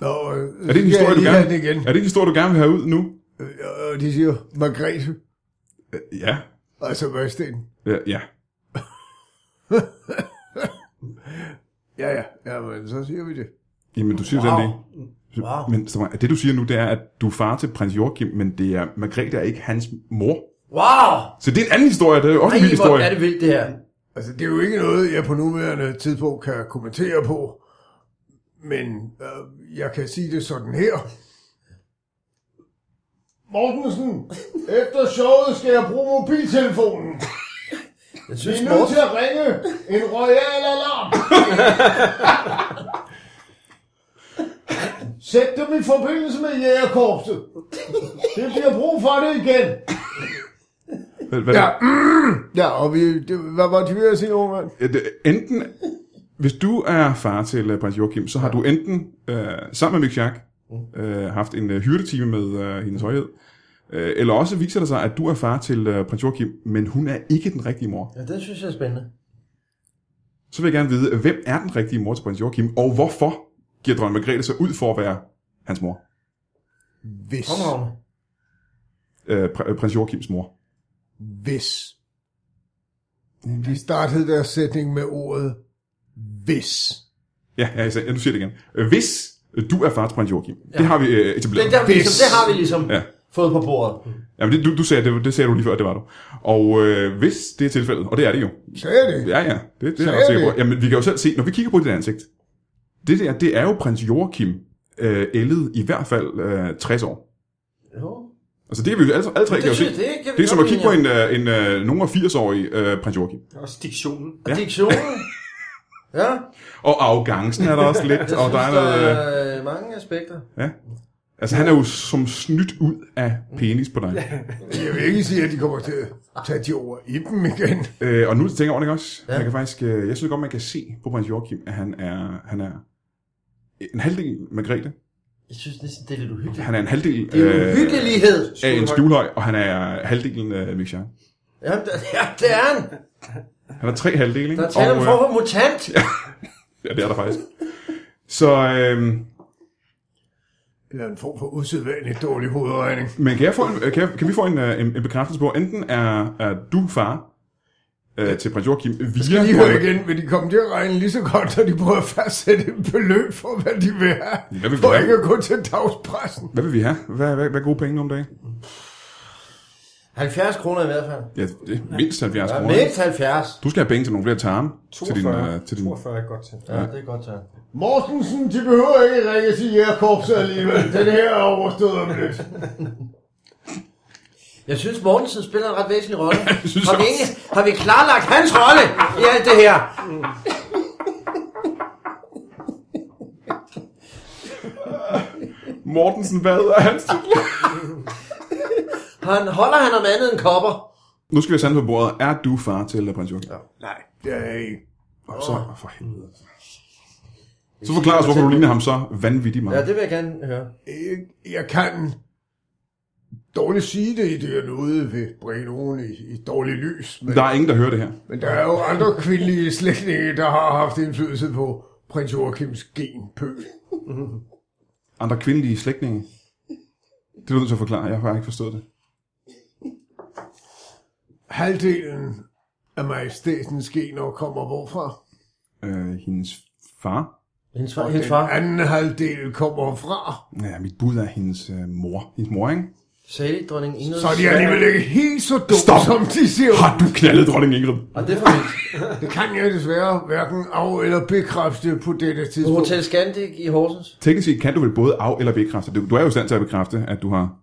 Speaker 4: Nå, øh,
Speaker 1: Er det en historie, du gerne,
Speaker 4: Det igen.
Speaker 1: er det en historie, du gerne vil have ud nu?
Speaker 4: Øh, Og de siger, Margrethe,
Speaker 1: Øh, ja.
Speaker 4: altså Mørsten.
Speaker 1: Ja, ja.
Speaker 4: Ja, ja, ja, men så siger vi det.
Speaker 1: Jamen, du siger wow.
Speaker 3: Wow.
Speaker 1: den lige. Så-
Speaker 3: Wow.
Speaker 1: Men så, det, du siger nu, det er, at du er far til prins Joachim, men det er, Margrethe er ikke hans mor.
Speaker 3: Wow!
Speaker 1: Så det er en anden historie, det er jo også
Speaker 3: Ej,
Speaker 1: en vild
Speaker 3: hvor
Speaker 1: historie.
Speaker 3: er det vildt, det her.
Speaker 4: Altså, det er jo ikke noget, jeg på nuværende tidspunkt kan kommentere på, men øh, jeg kan sige det sådan her. Mortensen, efter showet skal jeg bruge mobiltelefonen.
Speaker 3: Jeg
Speaker 4: Vi
Speaker 3: synes,
Speaker 4: er nødt
Speaker 3: Morten,
Speaker 4: til at ringe en royal alarm. Sæt dem i forbindelse med jægerkorpset. Det bliver brug for det igen.
Speaker 1: Hvad, hvad,
Speaker 4: Ja, ja og vi, det, hvad var det, vi at sige, unge mand?
Speaker 1: at øh, enten, hvis du er far til øh, prins Joachim, så har du enten øh, sammen med Mick Jacques
Speaker 3: Mm.
Speaker 1: øh, haft en øh, hyrdetime med øh, hendes højhed, øh, eller også viser det sig, at du er far til øh, prins Joachim, men hun er ikke den rigtige mor.
Speaker 3: Ja, det synes jeg er spændende.
Speaker 1: Så vil jeg gerne vide, hvem er den rigtige mor til prins Joachim, og hvorfor giver dronning Margrethe sig ud for at være hans mor?
Speaker 4: Hvis,
Speaker 3: Kom, Ravne.
Speaker 1: Øh, pr- øh, prins Joachims mor.
Speaker 4: hvis. De startede deres sætning med ordet hvis.
Speaker 1: Ja, ja, jeg sagde, ja nu siger jeg det igen. Øh, Hvis du er far til prins Joachim, ja. det har vi øh, etableret.
Speaker 3: Det, der,
Speaker 4: Hvis-
Speaker 3: ligesom, det har vi ligesom
Speaker 1: Ja.
Speaker 3: ja. fået på bordet.
Speaker 1: Jamen, det, du, du sagde, det, det sagde du lige før, det var du. Og øh, hvis det er tilfældet, og det er det jo,
Speaker 4: Sagde jeg det?
Speaker 1: Ja, ja. Det, det er jeg
Speaker 4: er
Speaker 1: også sikker
Speaker 4: det.
Speaker 1: på. Jamen, vi kan jo selv se, når vi kigger på dit ansigt. Det der, det er jo prins Joachim øh, ældet i hvert fald øh, 60 år.
Speaker 3: Jo.
Speaker 1: Altså, det er vi jo alle, alle tre kan jo
Speaker 3: Det,
Speaker 1: se.
Speaker 3: synes, det, kan vi
Speaker 1: Det er som at
Speaker 3: godt
Speaker 1: kigge på
Speaker 3: lide.
Speaker 1: en, øh, en øh, nogen af 80-årig øh, prins Joachim.
Speaker 2: Også diktionen.
Speaker 1: Ja.
Speaker 3: Diktionen. Ja,
Speaker 1: Og arrogancen er der også lidt,
Speaker 3: jeg
Speaker 1: og der er
Speaker 3: synes, der
Speaker 1: noget... Øh,
Speaker 3: er mange aspekter.
Speaker 1: altså, han er jo som snydt ud af penis på dig.
Speaker 4: Jeg vil ikke sige, at de kommer til at tage de ord i dem igen.
Speaker 1: Øh, og nu tænker jeg over det også. Ja. Jeg, kan faktisk, øh, jeg synes godt, man kan se på prins Joachim, at han er, han er en halvdel Margrethe.
Speaker 3: Jeg synes næsten, det er lidt uhyggeligt.
Speaker 1: Han er en halvdel øh,
Speaker 3: Det er en uhyggelighed.
Speaker 1: af en skjulhøj, og han er halvdelen af Mick Jagger.
Speaker 3: Jamen, der, ja, det er han.
Speaker 1: Han har tre halvdele, ikke?
Speaker 3: Der er tale om
Speaker 1: Og,
Speaker 3: en
Speaker 1: øh,
Speaker 3: form for mutant.
Speaker 1: Ja, det er der faktisk. Så, øh,
Speaker 4: Eller en form for usædvanligt dårlig hovedregning.
Speaker 1: men kan, jeg få en, kan, jeg, kan vi få en, øh, en, en bekræftelse på, enten er, er du far øh, til prins Joachim via...
Speaker 4: Skal lige høre igen, vil de komme til at regne lige så godt, når de prøver at fastsætte et beløb for, hvad de vil have?
Speaker 1: Hvad vil vi
Speaker 4: for
Speaker 1: have?
Speaker 4: ikke at gå til dagspressen.
Speaker 1: Hvad vil vi have? Hvad, hvad, hvad er gode penge om dagen?
Speaker 3: 70 kroner i hvert fald.
Speaker 1: Ja, det er mindst 70
Speaker 3: Ja,
Speaker 1: kroner.
Speaker 3: mindst 70.
Speaker 1: Du skal have penge til nogle flere tarme. Til din,
Speaker 2: 42,
Speaker 1: øh, til din,
Speaker 2: 42 er godt til.
Speaker 3: Ja, det er godt, så.
Speaker 4: Mortensen, de behøver ikke ringe til jægerkorpset alligevel. Den her er overstået om lidt.
Speaker 3: Jeg synes, Mortensen spiller en ret væsentlig rolle.
Speaker 1: synes
Speaker 3: har, vi
Speaker 1: jeg
Speaker 3: ikke, har vi klarlagt hans rolle i alt det her?
Speaker 1: Mortensen, hvad er hans titel?
Speaker 3: Han holder han om andet end kopper.
Speaker 1: Nu skal vi sande på bordet. Er du far til øh, prins Joachim? Ja.
Speaker 4: Nej, det er jeg ikke.
Speaker 1: Og så, oh, for helvede. Så forklar os, hvorfor du ligner ham så vanvittigt meget.
Speaker 3: Ja,
Speaker 1: Ja,
Speaker 3: det vil jeg gerne høre.
Speaker 4: Jeg, jeg kan dårligt sige det, det er noget ved bringe nogen i, i dårligt lys. Men,
Speaker 1: Der er ingen, der hører det her.
Speaker 4: men der er jo andre kvindelige slægtninge, der har haft indflydelse på prins Joachims genpøl.
Speaker 1: andre kvindelige slægtninge? Det er du nødt til at forklare. Jeg har ikke forstået det.
Speaker 4: Halvdelen af majestætens gener kommer hvorfra?
Speaker 1: Øh, hendes far?
Speaker 3: Hendes far.
Speaker 4: Og
Speaker 3: Hendes
Speaker 4: den
Speaker 3: far.
Speaker 4: anden halvdel kommer fra.
Speaker 1: Ja, mit bud er hendes øh, mor. Hendes mor, ikke?
Speaker 3: Sale, dronning Ingrid.
Speaker 4: Så er de alligevel ikke helt så dumme,
Speaker 1: Stop.
Speaker 4: som de siger.
Speaker 1: Har du knaldet dronning Ingrid?
Speaker 3: Og det er for vildt.
Speaker 4: Det kan jeg desværre hverken af- eller bekræfte på dette
Speaker 3: På
Speaker 4: tidspunkt.
Speaker 3: Hotel Scandic i Horsens.
Speaker 1: Teknisk set kan du vel både af- eller bekræfte. Du, du er jo i stand til at bekræfte, at du har...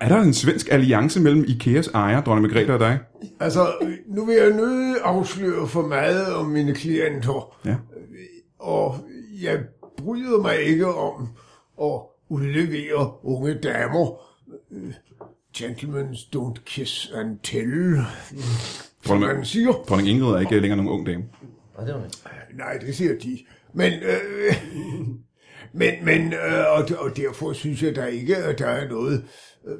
Speaker 1: Er der en svensk alliance mellem Ikeas ejer, dronning Margrethe og dig?
Speaker 4: Altså, nu vil jeg nødig afsløre for meget om mine klienter,
Speaker 1: Ja.
Speaker 4: og jeg bryder mig ikke om at udleverer unge damer. Øh, Gentlemen don't kiss and tell, som
Speaker 1: Dronning,
Speaker 4: man siger.
Speaker 1: dronning Ingrid er ikke længere nogen ung dame.
Speaker 3: Nej, det var ikke.
Speaker 4: Nej, det siger de. Men, øh, men, men øh, og, og derfor synes jeg da ikke, at der er noget, øh,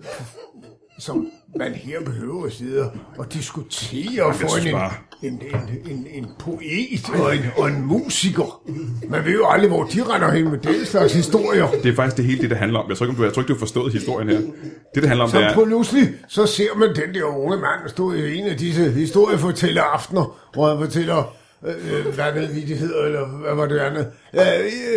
Speaker 4: som man her behøver at sidde og diskutere for
Speaker 1: synes
Speaker 4: en,
Speaker 1: bare-
Speaker 4: en, en, en, en poet og en, og en musiker. Man ved jo aldrig, hvor de render hen med den slags historier.
Speaker 1: Det er faktisk det hele det, det handler om. Jeg tror ikke, om du, jeg tror ikke, du har forstået historien her. Det, det handler om, det
Speaker 4: Så
Speaker 1: er...
Speaker 4: pludselig, så ser man den der unge mand stå i en af disse historiefortæller aftener, hvor han fortæller, øh, øh, hvad det hedder, eller hvad var det andet. Øh,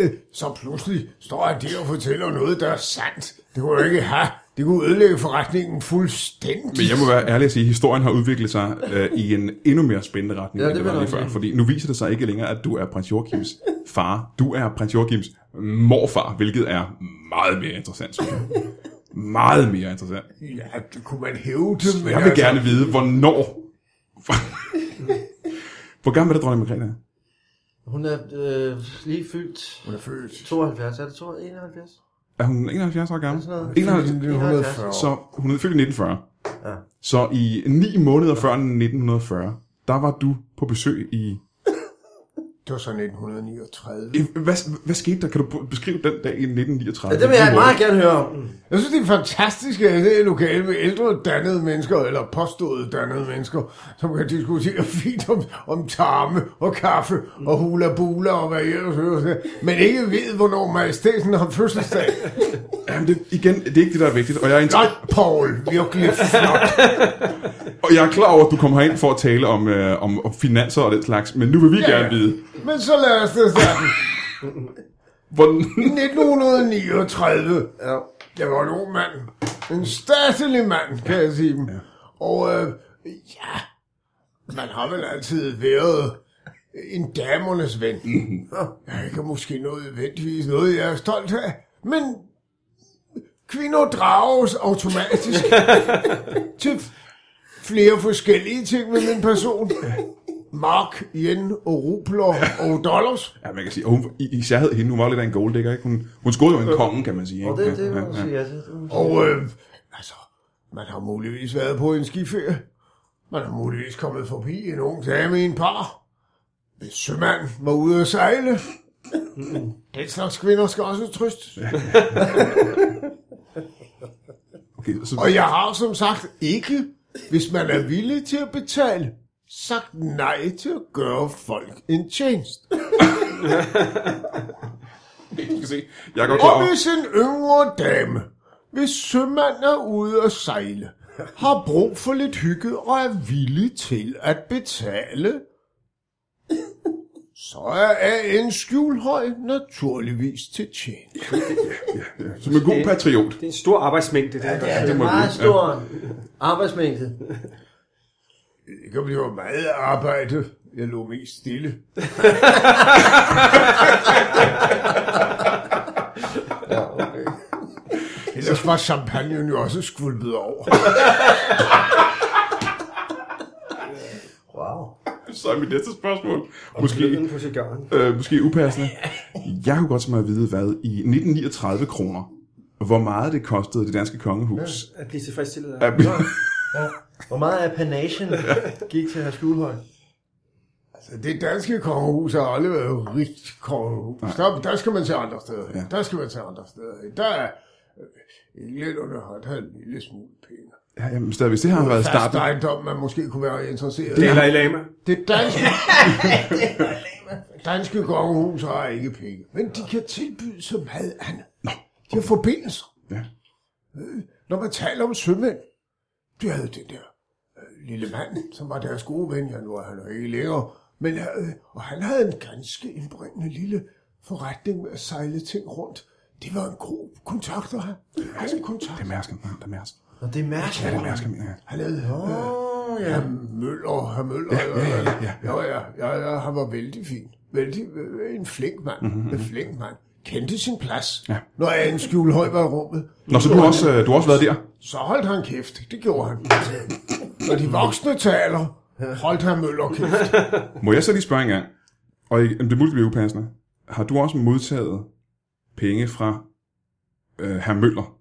Speaker 4: øh, så pludselig står han der og fortæller noget, der er sandt. Det kunne jeg ikke have. Det kunne ødelægge forretningen fuldstændig.
Speaker 1: Men jeg må være ærlig at sige, at historien har udviklet sig øh, i en endnu mere spændende retning, ja,
Speaker 3: Ja,
Speaker 1: end det,
Speaker 3: det
Speaker 1: var
Speaker 3: vil
Speaker 1: lige
Speaker 3: jeg
Speaker 1: før.
Speaker 3: nok sige.
Speaker 1: Fordi nu viser det sig ikke længere, at du er prins Joachims far. Du er prins Joachims morfar, hvilket er meget mere interessant, synes jeg. Meget mere interessant.
Speaker 4: Ja, det kunne man hæve det, men altså,
Speaker 1: Jeg vil gerne vide, hvornår... Hvor gammel er det, dronning Margrethe? er?
Speaker 3: Hun er øh, lige fyldt
Speaker 4: Hun er født.
Speaker 3: 72. Er det 72? 71?
Speaker 1: Er hun 71 år gammel?
Speaker 3: Sådan noget.
Speaker 1: 71,
Speaker 4: 1940.
Speaker 1: så hun er født i 1940.
Speaker 3: Ja.
Speaker 1: Så i ni måneder før 1940, der var du på besøg i
Speaker 4: Det var så 1939.
Speaker 1: I- Hvad, hvad skete der? Kan du beskrive den dag i 1939?
Speaker 3: Ja, det vil jeg meget gerne høre om.
Speaker 4: Jeg synes, det er fantastisk, at det er lokale med ældre dannede mennesker, eller påståede dannede mennesker, som kan diskutere fint om, om tarme og kaffe og hula bula og hvad jeg ellers hører, men ikke ved, hvornår majestæten har fødselsdag.
Speaker 1: Jamen, det, igen, det er ikke det, der er vigtigt. Og jeg er,
Speaker 4: Nej,
Speaker 1: inter-
Speaker 4: Paul, virkelig flot.
Speaker 1: og jeg er klar over, at du kommer herind for at tale om, øh, om, om finanser og den slags, men nu vil vi
Speaker 4: Ja,
Speaker 1: gerne
Speaker 4: ja.
Speaker 1: vide,
Speaker 4: Men så lad os det starte.
Speaker 1: hvordan...
Speaker 4: I 1939, ja. jeg var en ung mand. En statslig mand, kan jeg sige dem. Og øh, ja, man har vel altid været en damernes ven. Jeg kan måske noget ventvis, noget jeg er stolt af, men kvinder drages automatisk til flere forskellige ting med min person. Mark, yen og rubler og dollars.
Speaker 1: Ja, man kan sige, og hun, i- især hed hende, hun var lidt af en gold digger, ikke? Hun, hun skåede jo en konge, kan man sige.
Speaker 3: Og
Speaker 1: Ikke?
Speaker 3: det, det må
Speaker 1: ja,
Speaker 3: man
Speaker 1: ja, ja.
Speaker 3: sige, ja. det- det må man sige.
Speaker 4: Og øh, altså, man har muligvis været på en skiferie. Man har muligvis kommet forbi en ung dame i en par. Hvis sømand var ude at sejle. Den slags kvinder skal også trøst.
Speaker 1: Okay, så,
Speaker 4: Og jeg har som sagt ikke, hvis man er villig til at betale, sagt nej til at gøre folk en tjeneste.
Speaker 1: du skal se, jeg er godt klar
Speaker 4: Og
Speaker 1: over,
Speaker 4: hvis en yngre dame, hvis sømand er ude at sejle, har brug for lidt hygge og er villig til at betale, så er en skjulhøj naturligvis til tjent.
Speaker 1: som en god patriot.
Speaker 2: Det er en stor arbejdsmængde, det ja,
Speaker 3: Ja,
Speaker 2: der.
Speaker 3: det er
Speaker 1: må
Speaker 3: en meget
Speaker 1: vi-
Speaker 3: stor arbejdsmængde.
Speaker 4: Det kan blive meget arbejde. Jeg lå mest stille. Ellers var champagnen jo også skvulpet over.
Speaker 3: Wow.
Speaker 1: Så er mit næste spørgsmål.
Speaker 2: Gløden
Speaker 1: Måske,
Speaker 2: på cigaren.
Speaker 1: øh, måske upassende. Jeg kunne godt tænke mig at vide, hvad i 1939 kroner, hvor meget det kostede det danske kongehus.
Speaker 2: At blive tilfredsstillet af.
Speaker 1: Ja.
Speaker 3: Ja. Hvor meget af panagen gik til herr Skjulhøj?
Speaker 4: Så Det danske kongehus har aldrig været et rigt kongehus. Der, der skal man til andre steder. Ja. Der skal man til andre steder. hen. Der er øh, lidt underholdt her en lille smule Altså, penge.
Speaker 1: Ja, jamen, stadig, hvis det har været
Speaker 4: Fast
Speaker 1: starten...
Speaker 4: ejendom, man måske kunne være interesseret i.
Speaker 2: Det er Dalai Lama.
Speaker 4: Det danske, danske kongehus har ikke penge, men de kan tilbyde så meget andet. De har forbindelser. Øh,
Speaker 1: Ja.
Speaker 4: Når man taler om sømænd, de havde den der øh, lille mand, som var deres gode ven, ja nu er han jo ikke længere, men, øh, og han havde en ganske indbringende lille forretning med at sejle ting rundt. Det var en god kontakt at have. God
Speaker 1: Det
Speaker 4: kontakt.
Speaker 1: er Mærsken. Ja, det er Mærsken.
Speaker 3: Nå, det er mærkeligt.
Speaker 1: Ja, det er Mærsken, mener jeg.
Speaker 4: Han øh, havde
Speaker 3: Åh,
Speaker 4: Ja, Møller, herr Møller. Ja, ja, ja, ja, ja. ja, ja, ja han var vældig fin. Vældig, øh, en flink mand. Mm-hmm. En flink mand. Kendte sin plads.
Speaker 1: Ja.
Speaker 4: Når Anne Skjulhøj var i rummet,
Speaker 1: Nå, så du har også, øh, du har også været der?
Speaker 4: så holdt han kæft. Det gjorde han. Når de voksne taler, holdt han Møller kæft.
Speaker 1: Må jeg så lige spørge en gang? Og ikke- det er muligt, det bliver upassende. Har du også modtaget penge fra øh, herr Møller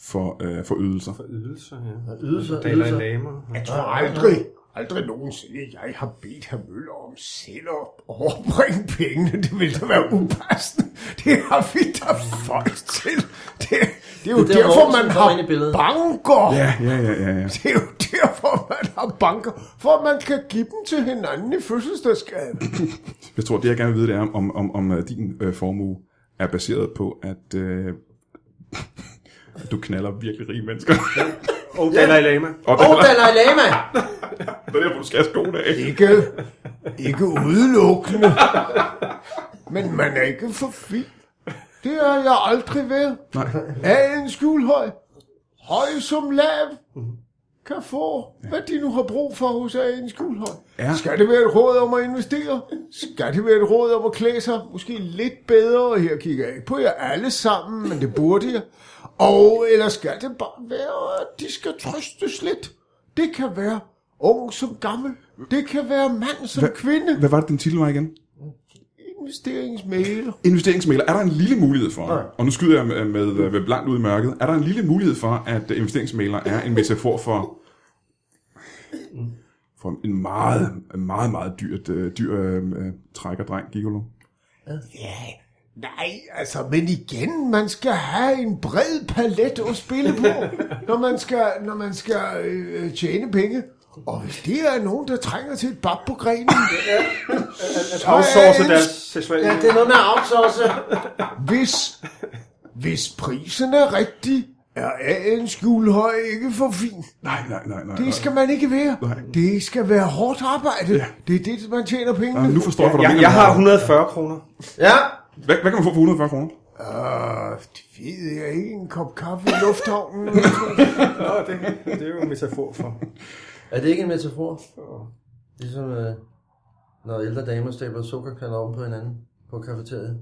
Speaker 1: for, øh, for ydelser.
Speaker 2: For ydelser, ja.
Speaker 3: Ydelser,
Speaker 2: Dalai
Speaker 3: ydelser.
Speaker 2: Lama.
Speaker 4: Jeg tror aldrig, aldrig nogensinde, at jeg har bedt herr Møller om selv at overbringe pengene. Det ville da være upassende. Det har vi da folk til. Det, det er jo
Speaker 3: Det er
Speaker 4: det
Speaker 3: der,
Speaker 4: derfor,
Speaker 3: Mortensen
Speaker 4: man
Speaker 3: kommer
Speaker 4: har
Speaker 3: ind i billedet.
Speaker 4: banker.
Speaker 1: Ja, ja, ja, ja. ja.
Speaker 4: Det er jo derfor, man har banker. For at man kan give dem til hinanden i fødselsdagsgave.
Speaker 1: Jeg tror, det jeg gerne vil vide, det er, om, om, om øh, din øh, formue er baseret på, at øh, du knaller virkelig rige mennesker.
Speaker 2: Og Dalai Lama.
Speaker 1: og
Speaker 3: Åh, oh, Dalai Lama!
Speaker 1: det er derfor, du skal have skoene af.
Speaker 4: Ikke, ikke udelukkende. Men man er ikke for fin. Det er jeg aldrig ved.
Speaker 1: Nej.
Speaker 4: Af en skjulhøj, høj som lav, kan få, hvad de nu har brug for hos af en skjulhøj.
Speaker 1: Ja.
Speaker 4: Skal det være et råd om at investere? Skal det være et råd om at klæde sig måske lidt bedre? Her kigger jeg ikke på jer alle sammen, men det burde jeg. Og eller skal det bare være, at de skal trøstes lidt? Det kan være ung som gammel. Det kan være mand som kvinde.
Speaker 1: Hvad var det, din titel var igen?
Speaker 4: Investeringsmæler.
Speaker 1: Investeringsmægler, er der en lille mulighed for, og nu skyder jeg med, med, med blankt ud i mørket, er der en lille mulighed for, at investeringsmægler er en metafor for, for en meget, meget, meget dyrt, øh, dyr øh, øh, trækkerdreng, gigolo?
Speaker 4: Ja, nej, altså, men igen, man skal have en bred palet at spille på, når man skal, når man skal øh, tjene penge. Og hvis det er nogen, der trænger til et bab på grenen,
Speaker 2: At outsource
Speaker 4: en-
Speaker 2: deres seksuelle...
Speaker 3: Ja, det er noget med at outsource.
Speaker 4: hvis, hvis prisen er rigtig, er en skjulhøj ikke for fin.
Speaker 1: Nej, nej, nej, nej.
Speaker 4: Det skal man ikke være.
Speaker 1: Nej.
Speaker 4: Det skal være hårdt arbejde. Det er det, man tjener penge.
Speaker 1: nej. Nu forstår jeg, hvad du
Speaker 2: Jeg,
Speaker 1: mener.
Speaker 2: jeg
Speaker 1: med
Speaker 2: har
Speaker 1: det.
Speaker 2: 140 kroner.
Speaker 3: Ja,
Speaker 1: Hvad, hvad kan man få for 140 kroner?
Speaker 4: Øh, det ved jeg ikke. En kop kaffe i lufthavnen.
Speaker 2: Nå, det, det er jo en metafor for.
Speaker 3: er det ikke en metafor? Ligesom øh, når ældre damer stabler sukkerkalder oven på hinanden på kafeteriet,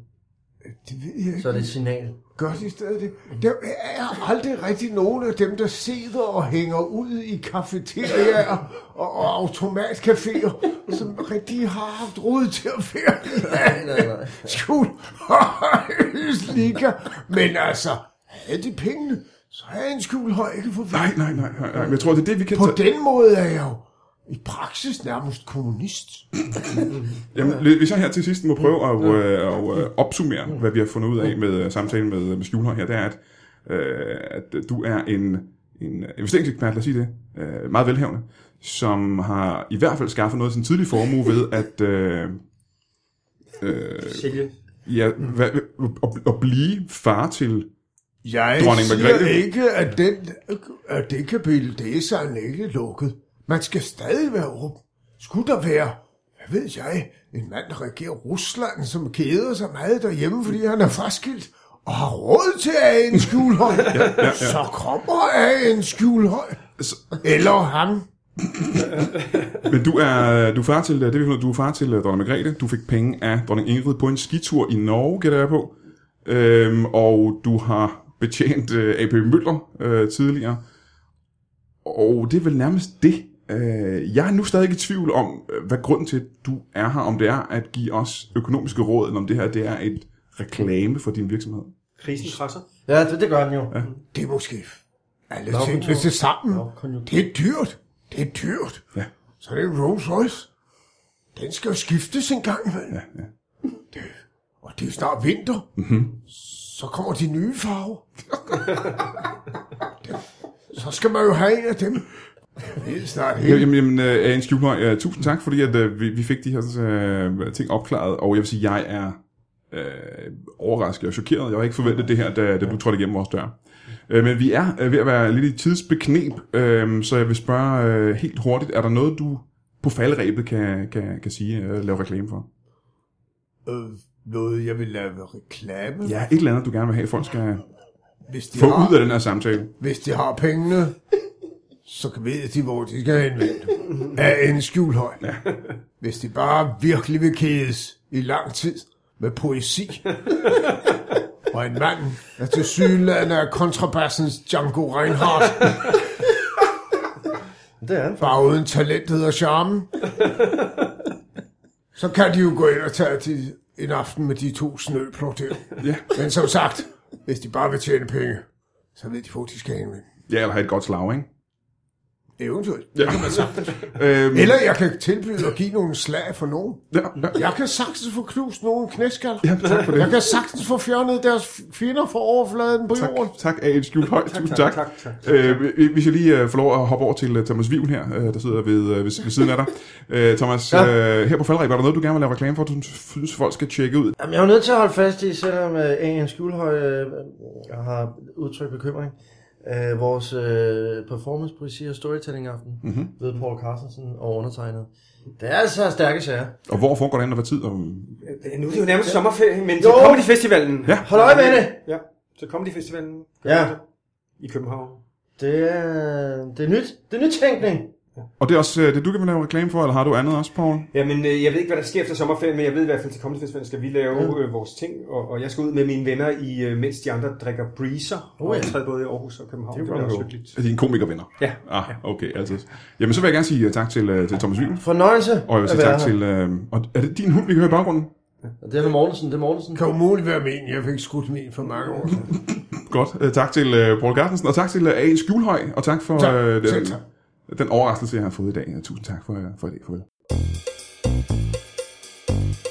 Speaker 4: det ved jeg ikke.
Speaker 3: så er det et signal.
Speaker 4: Gør de stadig det? Der er aldrig rigtig nogen af dem, der sidder og hænger ud i kafeterier og, og automatcaféer, som rigtig har haft råd til at være
Speaker 3: Nej, nej, nej.
Speaker 4: skjul og liga. Men altså, havde de pengene, så havde en skjulhøj ikke for
Speaker 1: Nej, nej, nej, nej, nej. Men jeg tror, det er det, vi kan
Speaker 4: På
Speaker 1: tage...
Speaker 4: den måde er jeg jo i praksis nærmest kommunist.
Speaker 1: Jamen, hvis jeg her til sidst må prøve at, øh, at øh, opsummere, hvad vi har fundet ud af med øh, samtalen med, med Skjulhøj her, det er, at, øh, at du er en, en investeringsekspert, lad os sige det, øh, meget velhavende, som har i hvert fald skaffet noget af sin tidlige formue ved at øh,
Speaker 2: Silje.
Speaker 1: ja, hvad, at, at blive far til...
Speaker 4: Jeg
Speaker 1: Dronning
Speaker 4: siger
Speaker 1: Margrethe.
Speaker 4: ikke, at, den, at det kapitel, det er sådan ikke lukket. Man skal stadig være åben. Skulle der være, hvad ved jeg, en mand, der regerer Rusland, som keder sig meget derhjemme, fordi han er fraskilt, og har råd til at have en skjulhøj, ja, ja, ja. så kommer af en skjulhøj.
Speaker 1: Så,
Speaker 4: Eller ham.
Speaker 1: men du er, du er far til, øh, det vi har fundet, du er far til øh, dronning Margrethe, du fik penge af dronning Ingrid på en skitur i Norge, gætter jeg på, øhm, og du har betjent øh, AP Møller øh, tidligere, Og det er vel nærmest det. Øh, jeg er nu stadig i tvivl om, øh, hvad grunden til, at du er her, om det er at give os økonomiske råd, eller om det her det er et reklame for din virksomhed.
Speaker 2: Krisen krasser.
Speaker 3: Ja, det, det gør den jo.
Speaker 4: Det er måske alle
Speaker 3: Lavkonjunktur.
Speaker 4: tingene til sammen.
Speaker 3: Lavkonjunktur.
Speaker 4: Det er dyrt. Det er dyrt.
Speaker 1: Ja.
Speaker 4: Så er det en Rolls Royce. Den skal jo skiftes en gang imellem. Ja, ja. Det, og det er snart vinter. Mm-hmm. Så kommer de nye farver. så skal man jo have en af dem. Jeg ved snart
Speaker 1: Ja,
Speaker 4: ikke.
Speaker 1: Jamen, jamen øh, Agens Juhlhøj, øh, tusind tak, fordi at, øh, vi, vi fik de her øh, ting opklaret, og jeg vil sige, jeg er øh, overrasket og chokeret. Jeg havde ikke forventet det her, da, da du trådte igennem vores dør. Øh, men vi er øh, ved at være lidt i tidsbeknep, øh, så jeg vil spørge øh, helt hurtigt, er der noget, du på faldrebet kan, kan, kan sige, øh, lave reklame for?
Speaker 4: Øh, noget, jeg vil lave reklame.
Speaker 1: Ja, et eller andet, du gerne vil have, folk skal
Speaker 4: Hvis de
Speaker 1: få
Speaker 4: har,
Speaker 1: ud af den her samtale.
Speaker 4: Hvis de har pengene, så kan ved de, hvor de skal henvende dem. Af en skjulhøj. Ja. Hvis de bare virkelig vil kædes i lang tid med poesi. Og en mand, der til synligheden er kontrabassens Django Reinhardt,
Speaker 3: Det er den.
Speaker 4: bare uden talentet og charme. Så kan de jo gå ind og tage til en aften med de to snøplot der.
Speaker 1: Ja.
Speaker 4: Men som sagt, Hvis de bare vil tjene penge, så ved de hvor de skal hen med. dem.
Speaker 1: Ja, eller have et godt slag, ikke?
Speaker 4: Eventuelt.
Speaker 1: Ja. øhm,
Speaker 4: Eller jeg kan tilbyde at give nogle slag for nogen.
Speaker 1: ja, ja.
Speaker 4: Jeg kan sagtens få knust nogen knæskal.
Speaker 1: Ja, tak for det.
Speaker 4: Jeg kan sagtens få fjernet deres fjender fra overfladen på
Speaker 1: Tak,
Speaker 4: jorden.
Speaker 1: tak A.H. Skjult Høj. Tusind tak.
Speaker 2: tak, tak,
Speaker 1: Øh, hvis jeg lige øh, får lov at hoppe over til øh, Thomas Vivl her, øh, der sidder ved, øh, ved, ved siden af dig. Øh, Thomas, ja. øh, her på Faldreb, er der noget, du gerne vil lave reklame for, du synes, folk skal tjekke ud?
Speaker 3: Jamen, jeg er jo nødt til at holde fast i, selvom øh, A.N. Skjulhøj øh, har udtrykt bekymring. Øh, vores øh, performance, poesi og storytelling aften mm-hmm.
Speaker 1: Mhm.
Speaker 3: ved Paul Carstensen og undertegnet. Det er altså stærke sager.
Speaker 1: Og hvor foregår det, når hvad tid? Og...
Speaker 2: Øh, Nu er det jo nærmest sommerferie, men til Comedy-festivalen.
Speaker 1: Ja.
Speaker 3: Hold øje med det!
Speaker 2: Ja, til Comedy-festivalen.
Speaker 3: Ja.
Speaker 2: I København.
Speaker 3: Det er, det er nyt. Det er nytænkning.
Speaker 1: Og det er også øh, det, du kan lave reklame for, eller har du andet også, Paul?
Speaker 2: Jamen, øh, jeg ved ikke, hvad der sker efter sommerferien, men jeg ved i hvert fald, til Comedy Festivalen skal vi lave øh, vores ting, og, og jeg skal ud med mine venner, i øh, mens de andre drikker breezer,
Speaker 3: Oh,
Speaker 2: oh, og
Speaker 3: ja.
Speaker 2: optræde både i Aarhus og København.
Speaker 3: Det
Speaker 2: Det,
Speaker 3: er
Speaker 2: det bliver
Speaker 3: godt
Speaker 2: også
Speaker 3: at
Speaker 2: hyggeligt.
Speaker 1: Er dine komikervenner?
Speaker 2: Ja.
Speaker 1: Ah, okay, altså. Jamen, så vil jeg gerne sige øh, tak til, øh, til Thomas Vivl.
Speaker 3: Fornøjelse
Speaker 1: Og jeg vil
Speaker 3: at
Speaker 1: sige
Speaker 3: være
Speaker 1: tak
Speaker 3: her.
Speaker 1: til... Øh, og er det din hund, vi kan høre i baggrunden?
Speaker 3: Og Det er Mortensen, det er Mortensen.
Speaker 4: Kan umuligt være min. Jeg fik skudt min for mange år siden.
Speaker 1: Godt. Øh, tak til øh, Paul Gartensen, og tak til øh, A.N. Skjulhøj, og tak for
Speaker 4: Tak.
Speaker 1: øh, den,
Speaker 4: Selv tak.
Speaker 1: den overraskelse, jeg har fået i dag. Tusind tak for, øh, for i dag. Farvel.